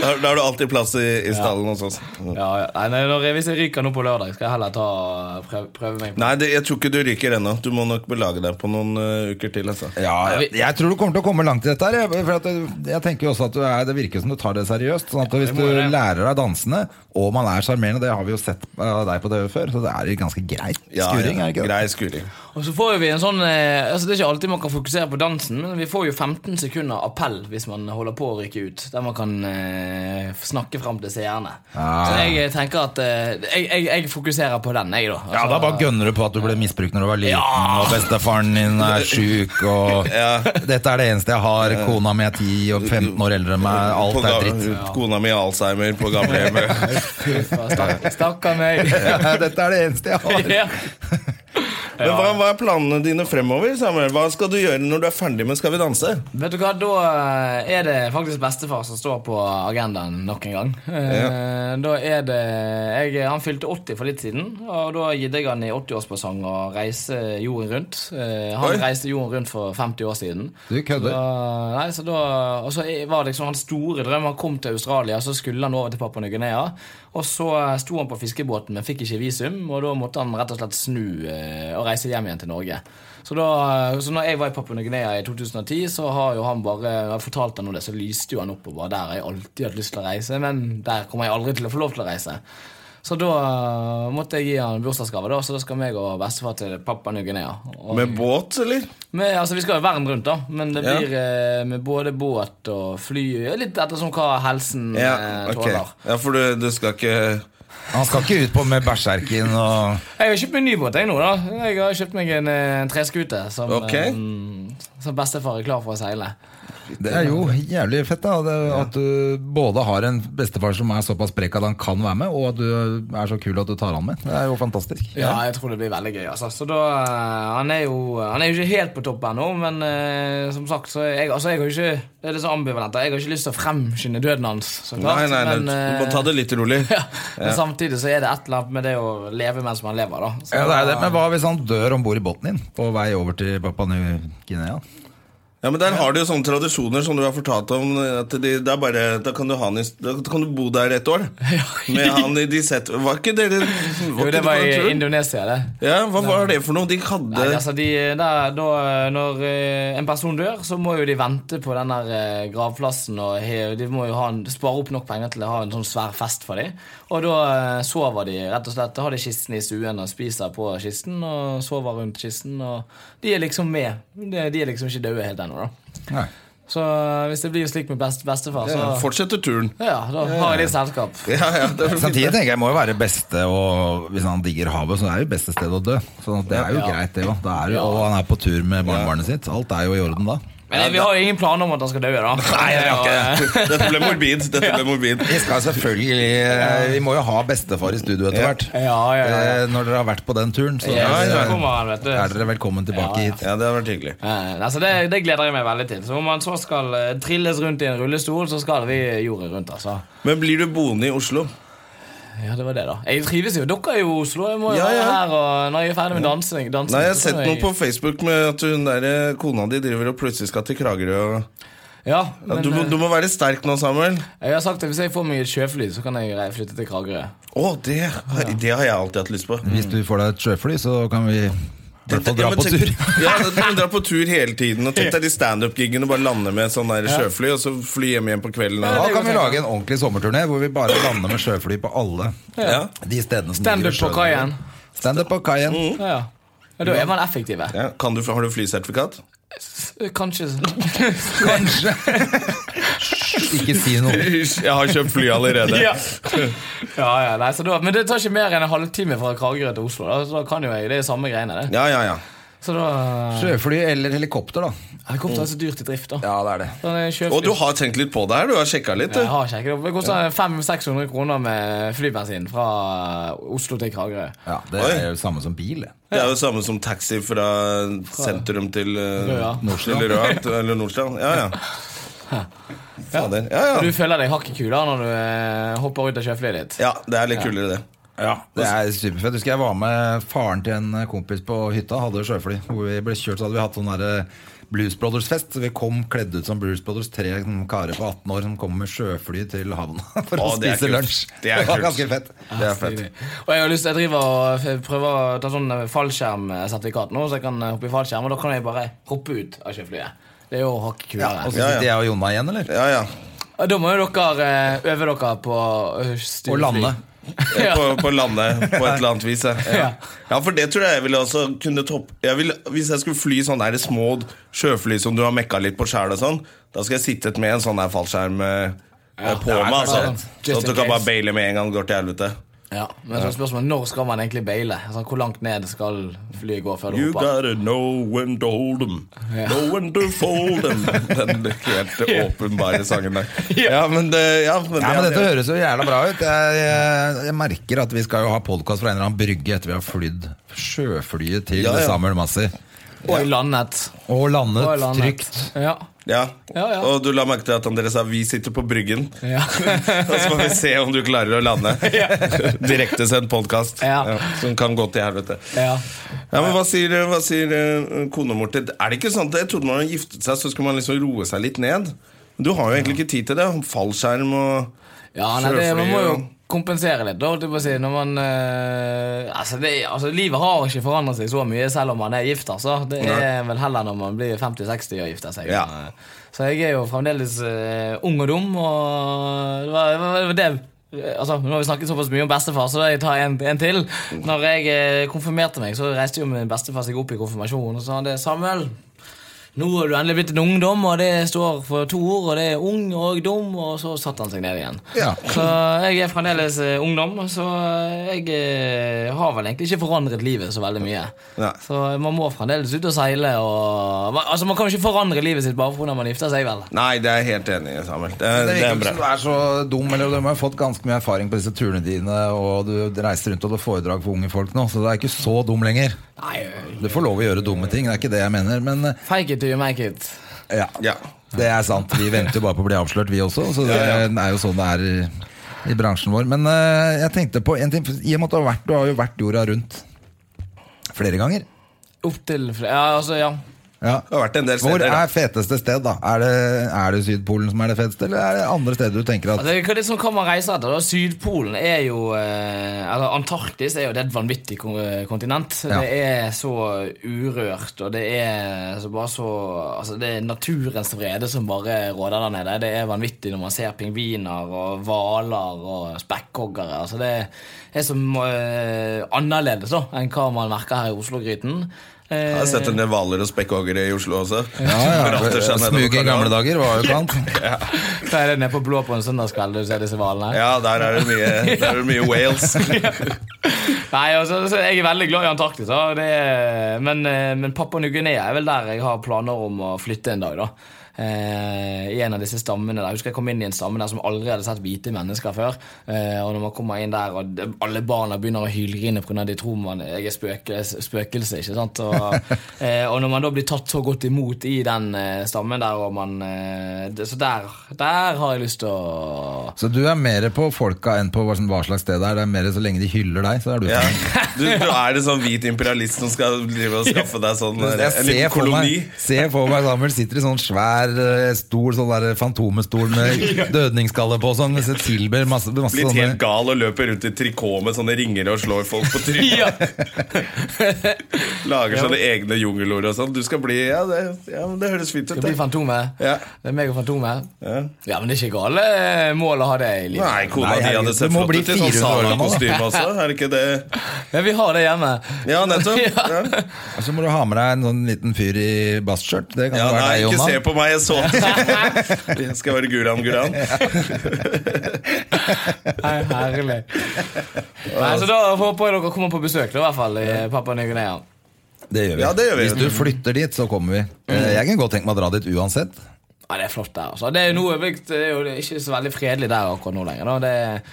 Speaker 2: Da, da har du alltid plass i, i stallen hos oss.
Speaker 3: Ja, ja. Nei, nei, når jeg, hvis jeg ryker nå på lørdag, skal jeg heller ta, eh, prøve, prøve meg på
Speaker 2: Nei, det, jeg tror ikke du ryker ennå. Du må nok belage deg på noen eh, uker til. Altså.
Speaker 1: Ja, jeg, jeg tror du kommer til å komme langt i dette. her jeg- For at jeg, jeg tenker jo også at du er, Det virker som du tar det seriøst. Sånn at Hvis
Speaker 3: det
Speaker 1: du
Speaker 3: må jeg.
Speaker 1: lærer deg dansene, og man er sjarmerende, det har vi jo sett eh, av deg på TV før, så det er jo ganske greit skuring.
Speaker 2: Ja, ja,
Speaker 1: er det ikke det?
Speaker 2: Grei skuring.
Speaker 3: Og så får jo vi en sånn eh, altså Det er ikke alltid man kan fokusere på dansen, men vi får jo 15 sekunder appell hvis man holder på å ryke ut. Der man kan eh, snakke fram til seerne.
Speaker 1: Ah.
Speaker 3: Så jeg eh, tenker at eh, jeg, jeg, jeg fokuserer på den, jeg, da.
Speaker 1: Ja,
Speaker 3: Altså-
Speaker 1: Da bare gønner du på at du ble misbrukt når du var liten, og bestefaren din er sjuk, og Dette er det eneste jeg har, kona mi er 10 og 15 år eldre enn meg,
Speaker 2: På
Speaker 1: alt er
Speaker 2: ga-
Speaker 1: dritt.
Speaker 2: (laughs) Kona mi har alzheimer på
Speaker 1: (laughs)
Speaker 2: gamlehjemmet.
Speaker 3: Stakk- Stakkar meg. (laughs)
Speaker 1: Ja, (laughs) Dette er det eneste jeg har.
Speaker 3: Ja.
Speaker 2: Men hva, hva er planene dine fremover? Samuel? Hva skal du gjøre når du er ferdig med Skal vi danse?
Speaker 3: Vet du hva, Da eh, er det faktisk bestefar som står på agendaen nok en gang. Eh, Da er det jeg, Han fylte 80 for litt siden, og da gidde jeg han i 80-årspresang å reise jorden rundt. Eh, Han
Speaker 2: Oi.
Speaker 3: reiste jorden rundt for 50 år siden.
Speaker 1: Du kødder.
Speaker 3: Så, nei, så da, og så var liksom hans store drøm Han kom til Australia, så skulle han over til Papua Ny-Guinea. Og så eh, sto han på fiskebåten, men fikk ikke visum, og da måtte han rett og slett snu eh, og reise hjem igjen til Norge. Så da eh, så når jeg var i Papua Ny-Guinea i 2010, så har jo han bare når jeg fortalte han om det, så lyste jo han opp og bare Der har jeg alltid hatt lyst til å reise, men der kommer jeg aldri til å få lov til å reise. Så da eh, måtte jeg gi han bursdagsgave, da, så da skal meg og bestefar til Papua Ny-Guinea. Og-
Speaker 2: Med båt, eller?
Speaker 3: men, altså, vi skal jo verden rundt, da, men det
Speaker 2: Ja.
Speaker 3: blir eh, med både båt og fly. ja, Litt ettersom hva helsen
Speaker 2: Ja, ok.
Speaker 3: eh, tåler.
Speaker 2: ja for du, du skal ikke
Speaker 1: Han skal ikke ut på med bæsjerken og
Speaker 3: Jeg har kjøpt meg en ny båt jeg nå. da Jeg har kjøpt meg en, eh, en treskute som,
Speaker 2: Ok.
Speaker 3: eh, som bestefar er klar for å seile.
Speaker 1: Det er jo jævlig fett da det, at du både har en bestefar som er såpass sprek at han kan være med, og at du er så kul at du tar han med. Det er jo fantastisk.
Speaker 3: Ja, jeg tror det blir veldig gøy. Altså. Så da, eh, han, er jo, han er jo ikke helt på topp ennå, men eh, som sagt så er jeg, altså, jeg har jo ikke, Det er litt sånn ambivalent. da. Jeg har ikke lyst til å fremskynde døden hans. Så klart,
Speaker 2: Nei, nei, nei,
Speaker 3: men,
Speaker 2: du må
Speaker 3: eh,
Speaker 2: ta det litt rolig.
Speaker 3: (laughs) ja, men samtidig så er det et eller annet med det å leve mens man lever. da så,
Speaker 1: Ja, det er det. Men hva hvis han dør om bord i båten din på vei over til Papua Ny-Guinea?
Speaker 2: Ja, men Der har de jo sånne tradisjoner som du har fortalt om. At de, det er bare, da, kan du ha en, his- da kan du bo der et
Speaker 3: (laughs)
Speaker 2: år. Med han i de sett Var ikke dere var
Speaker 3: Jo,
Speaker 2: ikke
Speaker 3: det
Speaker 2: dere på
Speaker 3: var
Speaker 2: en
Speaker 3: i
Speaker 2: tur?
Speaker 3: Indonesia, det.
Speaker 2: Ja, Hva var det for noe? De hadde
Speaker 3: Nei, altså de, der, da, Når eh, en person dør, så må jo de vente på den der eh, gravplassen. Og he, de må jo ha en, spare opp nok penger til å ha en sånn svær fest for dem. Og da eh, sover de rett og slett. Da har de kisten i stuen og spiser på kisten og sover rundt kisten. Og de er liksom med. De, de er liksom ikke døde helt ennå, da.
Speaker 1: Nei.
Speaker 3: Så eh, hvis det blir slik med best, bestefar, så
Speaker 2: Fortsetter turen.
Speaker 3: ja, da har jeg litt selskap.
Speaker 2: Ja, ja, det er fint.
Speaker 1: Samtidig tenker jeg må jo være beste og Hvis han digger havet, så er det jo beste stedet å dø. Så det er jo
Speaker 3: Ja.
Speaker 1: greit, det òg. Og han er på tur med barnebarnet sitt. Alt er jo i orden da.
Speaker 3: Men vi har jo ingen planer om at han skal dø, da.
Speaker 1: Nei, det har ikke det.
Speaker 2: Dette ble morbid. Dette ble morbid.
Speaker 1: Vi skal selvfølgelig eh, Vi må jo ha bestefar i studio etter hvert.
Speaker 3: (laughs) Ja, ja, ja, ja.
Speaker 1: Eh, Når dere har vært på den turen, så
Speaker 3: Ja,
Speaker 1: er
Speaker 3: så
Speaker 1: dere-
Speaker 3: kommer han, vet du.
Speaker 1: er dere velkommen tilbake hit.
Speaker 2: Ja, det hadde vært hyggelig.
Speaker 3: Eh, altså det, det gleder jeg meg veldig til. Så Om man så skal eh, trilles rundt i en rullestol, så skal vi jordet rundt. altså
Speaker 2: Men blir du boende i Oslo?
Speaker 3: Ja, det var det, da. Jeg trives jo. Dere er jo i Oslo. Jeg må jo
Speaker 2: Ja,
Speaker 3: være
Speaker 2: ja.
Speaker 3: her og når jeg er ferdig med dansing. dansing
Speaker 2: Nei, jeg har
Speaker 3: så
Speaker 2: sett
Speaker 3: må
Speaker 2: noe på Facebook med at hun der, eh, kona di driver og plutselig skal til Kragerø. og-
Speaker 3: Ja,
Speaker 2: Ja,
Speaker 3: men
Speaker 2: du, må,
Speaker 3: eh,
Speaker 2: du må være sterk nå, Samuel.
Speaker 3: jeg har sagt at hvis jeg får meg et sjøfly, så kan jeg rei- flytte til Kragerø.
Speaker 2: Å, det, har- det har jeg alltid hatt lyst på.
Speaker 1: Hvis du får deg et sjøfly, så kan vi i hvert fall
Speaker 2: Ja,
Speaker 1: dra
Speaker 2: men
Speaker 1: på
Speaker 2: tenk-
Speaker 1: tur.
Speaker 2: (laughs)
Speaker 1: (laughs)
Speaker 2: Ja, da kan du dra på tur hele tiden. Og Tenk deg de standup-giggene. Bare lande med sånn der sjøfly, og så fly hjem igjen på kvelden.
Speaker 1: Da
Speaker 2: Og,
Speaker 1: kan vi lage en ordentlig sommerturné hvor vi bare lander med sjøfly på alle
Speaker 2: ja.
Speaker 1: de stedene som
Speaker 3: Stand
Speaker 1: ligger
Speaker 3: up
Speaker 1: i
Speaker 3: på
Speaker 1: sjøen.
Speaker 3: kaien. Mm.
Speaker 1: Stand up på kaien.
Speaker 3: Ja, ja. ja, da er man effektive.
Speaker 2: Ja. Kan du, har du flysertifikat? (laughs)
Speaker 3: Kanskje
Speaker 1: Kanskje. Ikke si
Speaker 2: (laughs)
Speaker 1: noe.
Speaker 2: Hysj, Jeg har kjøpt fly allerede.
Speaker 3: Ja, ja, ja nei, så da, Men det tar ikke mer enn en halvtime fra Kragerø til Oslo. Da, så da kan jo jeg, Det er samme greiene, det.
Speaker 2: Ja, ja, ja.
Speaker 3: Så da
Speaker 1: Sjøfly eller helikopter, da.
Speaker 3: Helikopter er så dyrt i drift, da.
Speaker 1: Ja, det er det.
Speaker 3: Sånn, eh, sjøfly-
Speaker 2: Og du har tenkt litt på det her? Du har sjekka litt?
Speaker 3: Jeg
Speaker 2: Du.
Speaker 3: har sjekket opp. Det koster 500-600 kroner med flybensin fra Oslo til Kragerø.
Speaker 1: Ja, Det
Speaker 2: Oi.
Speaker 1: er jo samme som bil. det.
Speaker 2: Det er jo samme som taxi fra sentrum til eh,
Speaker 3: Røa.
Speaker 2: til Røa til- eller Nordstrand. Ja, ja. Fader. Ja,
Speaker 3: Du
Speaker 2: ja.
Speaker 3: føler deg hakket kul da når du eh, hopper ut av sjøflyet ditt.
Speaker 2: ja, det er litt kulere, det.
Speaker 1: Det er superfett. Husker jeg var med faren til en kompis på hytta. Hadde jo sjøfly. Hvor vi ble kjørt, så hadde vi hatt sånn derre Blues Brothers-fest. Så vi kom kledd ut som Blues Brothers. Tre sånne karer på 18 år som kom med sjøfly til havna (laughs) for å
Speaker 2: Å, det er
Speaker 1: spise
Speaker 2: kult.
Speaker 1: lunsj.
Speaker 2: Det er
Speaker 1: var
Speaker 2: kult.
Speaker 1: ganske fett.
Speaker 2: Det er fett.
Speaker 3: Og jeg har lyst til, jeg driver og f- prøver å ta sånn eh, fallskjermsertifikat nå, så jeg kan eh, hoppe i fallskjerm, og da kan jeg bare hoppe ut av sjøflyet. Det er jo hakket
Speaker 1: Ja, og så
Speaker 3: kulere.
Speaker 2: Ja, altså- ja.
Speaker 1: sitter jeg og Jonna igjen, eller?
Speaker 2: Ja, ja.
Speaker 3: Og Da må jo dere eh, øve dere på eh, styre
Speaker 1: Og lande.
Speaker 3: Ja.
Speaker 2: eh, på, på landet på et eller annet vis. Ja,
Speaker 3: Ja.
Speaker 2: ja for det tror jeg jeg ville også kunne toppe jeg ville, Hvis jeg skulle fly sånne her små sjøfly som du har mekka litt på sjæl og sånn, da skal jeg sittet med en sånn her fallskjerm eh,
Speaker 1: det
Speaker 2: på
Speaker 1: er
Speaker 2: meg.
Speaker 1: kanskje
Speaker 2: Altså.
Speaker 3: sant.
Speaker 2: Sånn at
Speaker 3: Just in
Speaker 2: du kan bare
Speaker 3: case.
Speaker 2: baile med en gang det går til helvete.
Speaker 3: Ja, men så er spørsmålet når skal man egentlig baile? Altså, hvor langt ned skal flyet gå før du
Speaker 2: You
Speaker 3: hopper?
Speaker 2: gotta know when to hold them, know when to fold
Speaker 3: (laughs)
Speaker 2: them. Den helt åpenbare sangen der. Ja, men det, ja, men det,
Speaker 1: Ja, men Dette
Speaker 2: det-
Speaker 1: høres jo jævla bra ut. Jeg, jeg, jeg merker at vi skal jo ha podkast fra en eller annen brygge etter vi har flydd sjøflyet til
Speaker 2: Ja, ja.
Speaker 1: Samuel Massi.
Speaker 3: Og landet.
Speaker 1: Og landet,
Speaker 3: Og landet.
Speaker 1: trygt.
Speaker 3: Ja.
Speaker 2: ja.
Speaker 3: Ja, ja.
Speaker 2: Og du la merke til at André sa 'vi sitter på bryggen'.
Speaker 3: (laughs)
Speaker 2: (laughs)
Speaker 3: ja.
Speaker 2: Og så må vi se om du klarer
Speaker 1: (laughs)
Speaker 2: å lande. Direktesendt podkast
Speaker 3: Ja.
Speaker 2: ja, som kan gå til helvete.
Speaker 3: ja.
Speaker 2: Ja, men Hva sier, hva sier eh, kona vår til Er det ikke sånn at jeg trodde man hadde giftet seg, så skulle man liksom roe seg litt ned? Men Du har jo egentlig ikke tid til det. Fallskjerm og
Speaker 3: Ja, nei, det, man må jo
Speaker 2: Sjøfly,
Speaker 3: kompensere litt, da. holdt jeg på å Si, når man, eh, altså, det, altså, livet har ikke forandret seg så mye selv om man er gift. Altså. Det er vel heller når man blir 50-60 og gifter seg.
Speaker 2: Ja.
Speaker 3: Så jeg er jo fremdeles eh, ung og dum, og det var, det var det Altså, nå har vi snakket såpass mye om bestefar, så da jeg tar en, en til. Når jeg eh, konfirmerte meg, så reiste jo min bestefar seg opp i konfirmasjonen og sa han det Samuel, Nå har du endelig blitt en ungdom, og det står for to ord, og det er ung og dum, og så satte han seg ned igjen.
Speaker 1: Ja.
Speaker 3: Så jeg er fremdeles eh, ungdom, så jeg eh, har vel egentlig ikke forandret livet så veldig mye.
Speaker 2: Nei.
Speaker 3: Så eh, man må fremdeles ut og seile og man, Altså, man kan jo ikke forandre livet sitt bare fordi man gifter seg, vel?
Speaker 2: Nei, det er jeg helt enig i, Samuel. Det,
Speaker 1: Det
Speaker 2: det
Speaker 1: virker
Speaker 2: er
Speaker 1: ikke som du
Speaker 2: bra.
Speaker 1: er så dum, eller du har fått ganske mye erfaring på disse turene dine, og du reiser rundt og holder foredrag for unge folk nå, så du er ikke så dum lenger.
Speaker 3: Nei,
Speaker 1: Du får lov å gjøre dumme ting, det er ikke det jeg mener, men eh,
Speaker 3: fake it till you make it.
Speaker 1: ja,
Speaker 2: Ja.
Speaker 1: det er sant. Vi venter jo bare på å bli avslørt, vi også, så det
Speaker 2: Ja, ja.
Speaker 1: er jo sånn det er i- i bransjen vår. Men eh, jeg tenkte på en ting, for i og med at du har vært, du har jo vært jorda rundt flere ganger.
Speaker 3: Opp til flere Ja, altså, ja.
Speaker 1: Ja.
Speaker 2: Det har vært en del
Speaker 1: Hvor
Speaker 2: steder. da.
Speaker 1: er feteste sted, da? Er det, er det Sydpolen som er det feteste, eller er det andre steder du tenker at
Speaker 3: Altså, hva er det som kan man reise etter? da? Sydpolen er jo eh, Eller Antarktis er jo det er et vanvittig kon- eh, kontinent.
Speaker 1: Ja.
Speaker 3: Det er så urørt, og det er altså, bare så Altså, det er naturens vrede som bare råder der nede. Det er vanvittig når man ser pingviner og hvaler og spekkhoggere. Altså, det er så eh, annerledes da enn hva man merker her i Oslo-gryten.
Speaker 2: Jeg har sett en del hvaler og spekkhoggere i Oslo også.
Speaker 1: ja, (laughs)
Speaker 2: (laughs) Som ratter
Speaker 1: ja,
Speaker 2: seg nedover
Speaker 1: Smug i
Speaker 2: Karl Johan.
Speaker 1: gamle dager var jo plant.
Speaker 3: Hva er Eh, det nede på Blå på en søndagskveld du ser disse hvalene?
Speaker 2: Ja, der er det mye, der er det mye Wales.
Speaker 3: Nei, altså, så Jeg er veldig glad i Antarktis, da. Det er, men, eh, men Papua Ny-Guinea er vel der jeg har planer om å flytte en dag. da. Eh, I en av disse stammene der. Jeg husker jeg kom inn i en stamme der som aldri hadde sett hvite mennesker før. Eh, og når man kommer inn der, og de- alle barna begynner å hylgrine pga. de tror man jeg er spøkelse, spøkelse ikke sant? Og, eh, og når man da blir tatt så godt imot i den eh, stammen der, og man eh, det, Så der, der har jeg lyst til å
Speaker 1: Så du er mer på folka enn på hva som- hva slags sted det er? Det er mer så lenge de hyller deg, så er du
Speaker 2: Ja.
Speaker 1: fornøyd.
Speaker 2: Du, du er en sånn hvit imperialist som skal drive og skaffe deg sånn eh,
Speaker 1: Jeg
Speaker 2: en liten
Speaker 1: ser for,
Speaker 2: koloni.
Speaker 1: meg, ser for meg Samuel sitter i sånn svær eh, stol, sånn der fantomestol
Speaker 2: (laughs)
Speaker 1: med dødningskalle på, sånn, med silber, masse, masse
Speaker 2: Blitt helt
Speaker 1: sånne
Speaker 2: gal og løper rundt i trikot med sånne ringer og slår folk på
Speaker 1: (laughs)
Speaker 2: trynet.
Speaker 3: ja.
Speaker 2: Lager sånne egne jungelord og sånn. Du skal bli Ja, det, ja, men det høres fint ut.
Speaker 3: Det blir
Speaker 2: Det.
Speaker 3: Fantomet.
Speaker 2: Ja.
Speaker 3: Det er meg og Fantomet.
Speaker 2: Ja.
Speaker 3: Ja, men det er ikke gale eh, mål å ha det i livet.
Speaker 2: Nei,
Speaker 1: Nei,
Speaker 2: kona di
Speaker 1: herregud,
Speaker 2: hadde sett
Speaker 1: du må
Speaker 2: flott
Speaker 1: bli
Speaker 2: ut i
Speaker 1: 400
Speaker 2: sånn
Speaker 1: år gammel, da.
Speaker 2: Sana-kostyme også. Er det ikke det
Speaker 3: Men vi har det hjemme.
Speaker 2: Ja,
Speaker 1: (laughs)
Speaker 2: nettopp.
Speaker 3: Ja.
Speaker 2: Ja.
Speaker 1: Så må du ha med deg en sånn liten fyr i bastskjørt. Det kan
Speaker 2: Ja,
Speaker 1: jo være
Speaker 2: nei,
Speaker 1: deg,
Speaker 2: ikke
Speaker 1: Jonna.
Speaker 2: se på meg, jeg så
Speaker 1: (laughs)
Speaker 2: det. Jeg skal være Guran Guran.
Speaker 3: Nei, herlig. Nei, så da håper jeg dere kommer på besøk, da, i hvert fall, i eh, Papua Ny-Guinea.
Speaker 1: Det gjør vi.
Speaker 2: Ja, det gjør vi. Mm.
Speaker 1: Hvis du flytter dit, så kommer vi. Eh, Jeg kunne godt tenke meg å dra dit uansett.
Speaker 3: Ja, det er flott der, altså. Det er jo noe Det er jo ikke så veldig fredelig der akkurat nå lenger, da. Det er-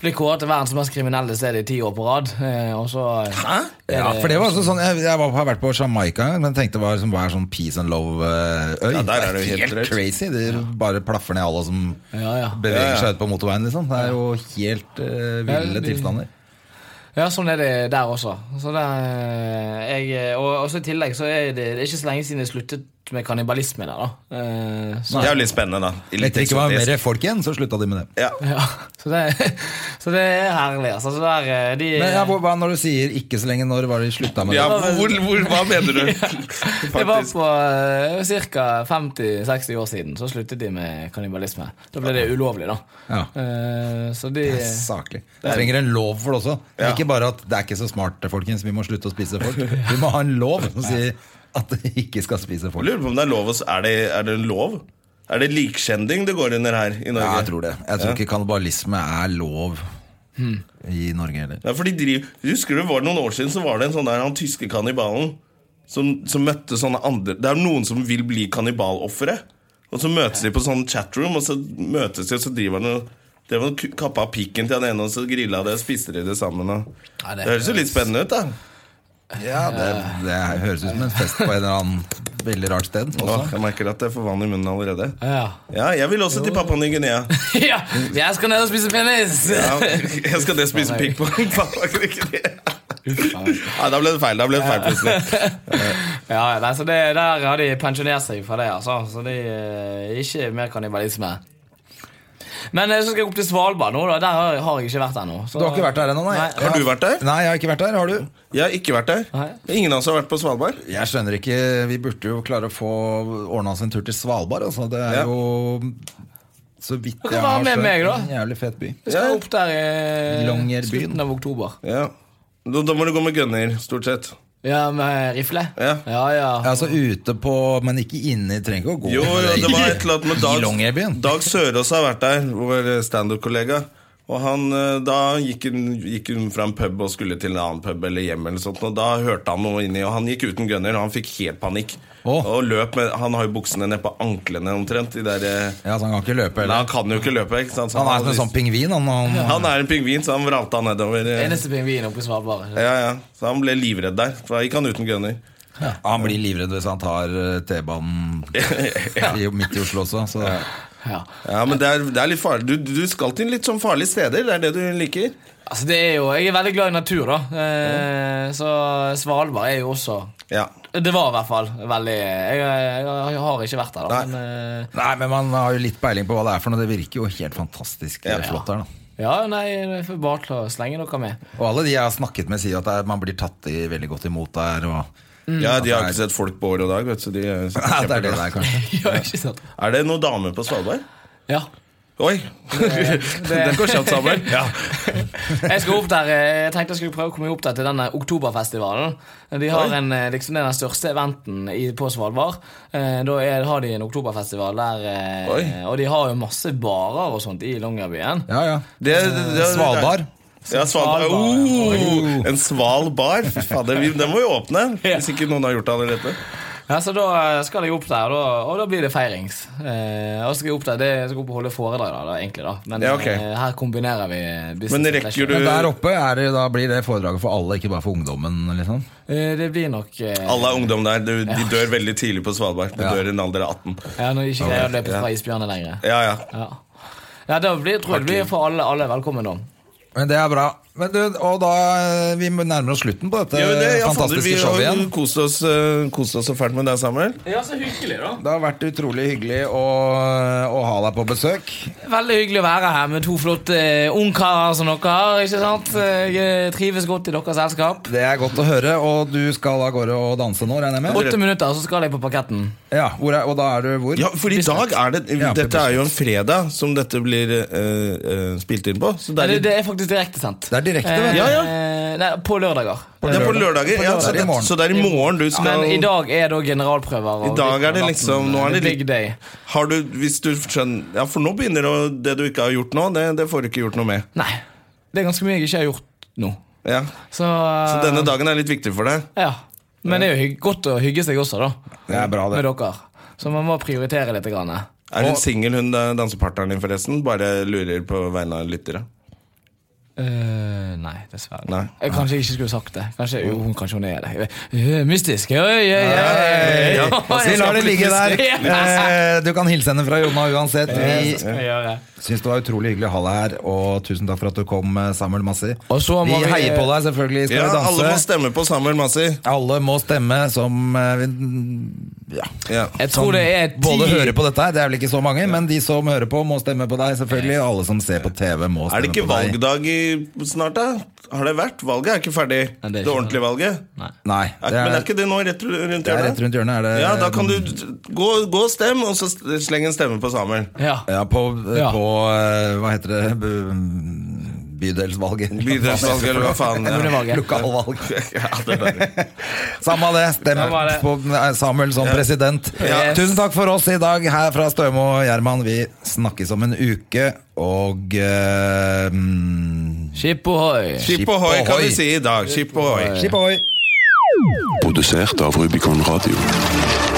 Speaker 3: blir kåret til verdens mest kriminelle sted i ti år på rad, eh, og så Hæ?
Speaker 1: Ja, for det var også sånn Jeg, jeg var, har vært på Jamaica, en gang, men tenkte det var som hver sånn peace and eh, love-øy.
Speaker 2: Ja, der er det jo helt drøyt.
Speaker 1: crazy. De bare plaffer ned alle som
Speaker 3: Ja, ja.
Speaker 1: beveger
Speaker 2: Ja, ja.
Speaker 1: seg ut på motorveien. Liksom. Det er jo helt eh,
Speaker 3: Ja,
Speaker 1: ville
Speaker 3: de-
Speaker 1: tilstander.
Speaker 3: Ja, sånn er det der også. Så det, jeg, eh, og også I tillegg så er det, det er ikke så lenge siden jeg sluttet med kannibalisme der. da Eh, så,
Speaker 2: Det er jo litt spennende, da.
Speaker 1: Litt ikke var mer folk igjen, så slutta de med det.
Speaker 2: Ja.
Speaker 3: ja, (laughs) så, det, så det er herlig. Altså, så der, eh, de,
Speaker 1: Men ja, hvor- hva når du sier 'ikke så lenge', når var det de slutta med
Speaker 2: Ja,
Speaker 1: det?
Speaker 2: hvor, hvor, hva
Speaker 1: (laughs)
Speaker 2: mener (laughs) du?
Speaker 3: det var
Speaker 2: Faktisk.
Speaker 3: på ca. 50-60 år siden så sluttet de med kannibalisme. Da ble det ulovlig, da.
Speaker 1: Ja.
Speaker 3: Eh, så de
Speaker 1: Saklig. Vi trenger en lov for det også.
Speaker 2: Ja.
Speaker 1: Ikke bare at det er ikke så smart, folkens, vi må slutte å spise folk. Vi må ha en lov som sier at de ikke skal spise folk.
Speaker 2: Jeg lurer på om det er lov å s- Er det, er det en lov? Er det likskjending det går under her i Norge?
Speaker 1: Ja, Hmm. jeg tror det. Jeg tror ikke kannibalisme er lov i Norge heller.
Speaker 2: Ja, for de driver, husker du, var det noen år siden så var det en sånn der, han tyske kannibalen som, som møtte sånne andre Det er noen som vil bli kannibalofre. Og så møtes de på sånn chatroom, og så møtes de, og så driver han og drev han og ku- kappa av pikken til han ene, og så grilla det, og spiste de det sammen. Og.
Speaker 3: Ja,
Speaker 2: Det
Speaker 3: det-
Speaker 2: høres jo litt spennende ut, da.
Speaker 1: Ja, det, det høres ut som en fest på en eller annen veldig rart sted.
Speaker 2: Åh,
Speaker 1: Også.
Speaker 2: jeg merker at jeg får vann i munnen allerede.
Speaker 3: ja. (laughs)
Speaker 2: Ja, jeg vil også til Papua Ny-Guinea.
Speaker 3: ja! Jeg skal ned og spise penis!
Speaker 2: Ja, (laughs) jeg skal det spise pikk på (laughs) Papua Ny-Guinea. Nei, da ble det feil. Da ble det feil plutselig.
Speaker 3: Ja, nei, så det, Der har de pensjonert seg fra det, altså. Så de eh, ikke mer kannibalisme. Men eh, så skal jeg opp til Svalbard nå. da Der har, har jeg ikke vært ennå.
Speaker 1: Du har ikke vært der ennå, nei?
Speaker 3: Nei.
Speaker 2: Har du vært der?
Speaker 1: Nei, jeg har ikke vært der. Har du?
Speaker 2: Jeg har ikke vært der.
Speaker 3: Nei.
Speaker 2: Ingen av oss har vært på Svalbard.
Speaker 1: Jeg skjønner ikke Vi burde jo klare å få ordna oss en tur til Svalbard. Altså. Det er
Speaker 2: Ja.
Speaker 1: jo så vidt
Speaker 3: kan
Speaker 1: jeg
Speaker 3: være
Speaker 1: har
Speaker 3: med meg, da.
Speaker 1: en jævlig fet by.
Speaker 3: Jeg
Speaker 2: Ja.
Speaker 3: skal opp der i
Speaker 1: Longyearbyen.
Speaker 3: slutten av oktober.
Speaker 2: Ja. Da, da må du gå med gunner, stort sett.
Speaker 3: Ja, med rifle?
Speaker 2: Ja.
Speaker 3: ja. ja.
Speaker 1: Altså ute på, men ikke inne. i- Trenger ikke å gå
Speaker 2: Jo, jo, det var et eller annet med
Speaker 1: i Longyearbyen.
Speaker 2: Dag, Dag Sørås har vært der, vår standup-kollega. Og han, eh, Da gikk hun, gikk hun fra en pub og skulle til en annen pub eller hjem, eller sånt, og da hørte han noe inni, og han gikk uten gunner, og han fikk helt panikk.
Speaker 1: Åh.
Speaker 2: Og løp med, Han har jo buksene ned på anklene omtrent. De der, eh,
Speaker 1: Ja, så han kan ikke løpe
Speaker 2: nei,
Speaker 1: heller.
Speaker 2: han kan jo ikke løpe. ikke sant? Så
Speaker 1: Han er
Speaker 2: han
Speaker 1: som en sånn
Speaker 2: hadde-
Speaker 1: pingvin. Han, han,
Speaker 2: han er en pingvin, så han vralta nedover. eh.
Speaker 3: Eneste pingvin oppe i Svalbard.
Speaker 2: Ja, ja. Så han ble livredd der. Så da gikk han uten (laughs) gunner.
Speaker 1: han blir livredd hvis han tar eh, T-banen i- midt i Oslo også. Så
Speaker 3: Ja.
Speaker 2: Ja, men det er, det er litt farlig. Du, du skal til litt sånn farlige steder. Det er det du liker.
Speaker 3: Altså, det er jo, Jeg er veldig glad i natur, da. Eh, så Svalbard er jo også
Speaker 2: Ja.
Speaker 3: Det var i hvert fall veldig Jeg, jeg, jeg har ikke vært der, da. Men, eh,
Speaker 1: Nei, men man har jo litt peiling på hva det er for noe. Det virker jo helt fantastisk eh, flott der, da.
Speaker 3: ja, nei, jeg får bare til å slenge dere med. (laughs)
Speaker 1: Og alle de jeg har snakket med, sier at det er, man blir tatt i, veldig godt imot der. Og,
Speaker 2: ja, de har ikke sett folk på år og dag. Vet du, så de (laughs) er
Speaker 1: ja, det er det
Speaker 2: kjempeglade.
Speaker 1: der, kanskje.
Speaker 3: ja, ikke sant?
Speaker 2: Er det noen damer på Svalbard?
Speaker 3: Ja.
Speaker 2: Oi! (laughs) Det, går kjapt sammen. Ja.
Speaker 3: Jeg skal opp der, eh, jeg tenkte jeg skulle prøve å komme opp der til denne oktoberfestivalen. De har
Speaker 2: Oi.
Speaker 3: en, eh, liksom det er den største eventen i, på Svalbard. Eh, Da er, har de en oktoberfestival der, eh,
Speaker 2: Oi.
Speaker 3: og de har jo masse barer og sånt i Longyearbyen.
Speaker 1: Ja, ja.
Speaker 2: Det, det, det,
Speaker 1: Svalbard.
Speaker 2: Ja, Svalbard.
Speaker 3: Svalbard,
Speaker 2: Oh, en sval bar. Fy fader, vi- den må vi åpne. Hvis ikke noen har gjort det allerede.
Speaker 3: Ja, så da eh, skal jeg opp der, og da, og da blir det feirings. Eh, og så skal jeg opp der, det, jeg skal opp og holde foredrag da, da, egentlig da. Men
Speaker 2: Ja, ok.
Speaker 3: eh, her kombinerer vi business.
Speaker 2: Men
Speaker 3: og
Speaker 2: rekker
Speaker 3: pleasure.
Speaker 2: du-
Speaker 1: Men der oppe er det, da blir det foredraget for alle, ikke bare for ungdommen. liksom
Speaker 3: Eh, det blir nok... eh,
Speaker 2: Alle er ungdom der. De, de dør veldig tidlig på Svalbard. De dør i en alder av 18.
Speaker 3: Ja, når de ikke greier å løpe fra isbjørnene lenger.
Speaker 2: Ja, ja.
Speaker 3: Ja, ja da blir, tror jeg det blir for alle, alle velkommen da.
Speaker 1: Men det er bra. Men du, og da eh, Vi nærmer oss slutten på dette
Speaker 2: Ja, men det, ja, fader, vi
Speaker 1: fantastiske showet
Speaker 2: har
Speaker 1: igjen.
Speaker 2: jo kost oss, eh, kost oss så fælt med deg, Samuel.
Speaker 3: Ja, så hyggelig da.
Speaker 1: Det har vært utrolig hyggelig å, eh, å ha deg på besøk.
Speaker 3: Veldig hyggelig å være her med to flotte eh, ungkarer som dere har, ikke sant? Jeg eh, trives godt i deres selskap.
Speaker 1: Det er godt å høre. Og du skal av gårde og danse nå, regner jeg med?
Speaker 3: Åtte minutter, så skal jeg på parketten.
Speaker 1: Ja, hvor er, Og da er du hvor?
Speaker 2: Ja, for i dag er det
Speaker 1: Ja,
Speaker 2: Dette er jo en fredag som dette blir eh, eh, spilt inn på. Så det er
Speaker 3: Det,
Speaker 2: litt
Speaker 3: det er faktisk direktesendt.
Speaker 1: Det er direkte, vet du.
Speaker 2: Ja, ja.
Speaker 3: Eh, Nei, på lørdager.
Speaker 2: Det er på lørdager. Ja,
Speaker 1: lørdag.
Speaker 2: så,
Speaker 1: Det er i
Speaker 2: det,
Speaker 1: morgen.
Speaker 2: så det er i morgen du skal
Speaker 3: Men i dag er da generalprøver. og
Speaker 2: I dag
Speaker 3: litt
Speaker 2: er det
Speaker 3: på
Speaker 2: liksom-
Speaker 3: natten.
Speaker 2: nå er det
Speaker 3: big
Speaker 2: litt-
Speaker 3: day.
Speaker 2: Har du, hvis du skjønner Ja, for nå begynner det å- det du ikke har gjort nå, det, det får du ikke gjort noe med.
Speaker 3: Nei. Det er ganske mye jeg ikke har gjort nå.
Speaker 2: Ja.
Speaker 3: Så, eh,
Speaker 2: Så
Speaker 1: Eh.
Speaker 2: denne dagen er litt viktig for deg.
Speaker 3: Ja. Men det er jo hygg- godt å hygge seg også, da.
Speaker 1: Det er bra, det.
Speaker 3: Med dere. Så man må prioritere litt. Grann.
Speaker 2: Er hun singel, hun eh, dansepartneren din, forresten? Bare lurer på vegne av lyttere.
Speaker 3: Eh, nei, dessverre.
Speaker 2: Nei.
Speaker 3: Jeg kanskje jeg ikke skulle sagt det. Kanskje, jo, hun, kanskje hun er det. Eh, mystisk. Oi, oi, oi.
Speaker 1: Ja, Vi lar det ligge (laughs) der.
Speaker 3: (laughs) Ja,
Speaker 1: Eh, Du kan hilse henne fra Jonna uansett. Vi
Speaker 3: det skal jeg gjøre.
Speaker 1: syns det var utrolig hyggelig å ha deg her, og tusen takk for at du kom, eh, Samuel Massi.
Speaker 3: Og så
Speaker 1: Vi
Speaker 3: må vi-
Speaker 1: heier på deg, selvfølgelig. Skal
Speaker 2: Ja,
Speaker 1: vi danse?
Speaker 2: alle må stemme på Samuel Masi.
Speaker 1: Alle må stemme som eh, vi- ja,
Speaker 2: Ja.
Speaker 3: Jeg tror det er ti
Speaker 1: både hører på dette her, det er vel ikke så mange, men de som hører på, må stemme på deg, selvfølgelig. Og alle som ser på TV, må
Speaker 2: Er
Speaker 1: stemme
Speaker 2: det ikke
Speaker 1: på deg.
Speaker 2: valgdag i, snart, da? Har det vært? Valget er ikke ferdig.
Speaker 3: Nei,
Speaker 2: det,
Speaker 3: det er ikke
Speaker 2: ordentlige valget.
Speaker 3: Nei.
Speaker 1: Nei,
Speaker 2: Er,
Speaker 1: det
Speaker 2: men er
Speaker 1: er,
Speaker 2: ikke det nå rett rundt
Speaker 1: det er
Speaker 2: hjørnet?
Speaker 1: rett rundt hjørnet. Er det,
Speaker 2: Ja, da kan du gå, gå og stemme, og så sleng en stemme på Samuel.
Speaker 3: Ja.
Speaker 1: Ja, på,
Speaker 3: Ja.
Speaker 1: på eh, hva heter det Bu- Bydelsvalget.
Speaker 2: Bydelsvalg, eller hva faen. Ja.
Speaker 3: Kommunevalget.
Speaker 1: Lokalvalg.
Speaker 2: (laughs) Ja, det er det.
Speaker 1: Samme av det. Stem
Speaker 3: Samme av det.
Speaker 1: på eh, Samuel som president.
Speaker 3: Yes.
Speaker 1: Tusen takk for oss i dag her fra Støme og Gjerman. Vi snakkes om en uke, og eh, mm,
Speaker 3: Skip ohoi.
Speaker 2: Skip ohoi, kan
Speaker 1: ohoi.
Speaker 2: vi si i dag. Skip ohoi.
Speaker 1: Skip ohoi!
Speaker 4: Produsert av Rubicon Radio.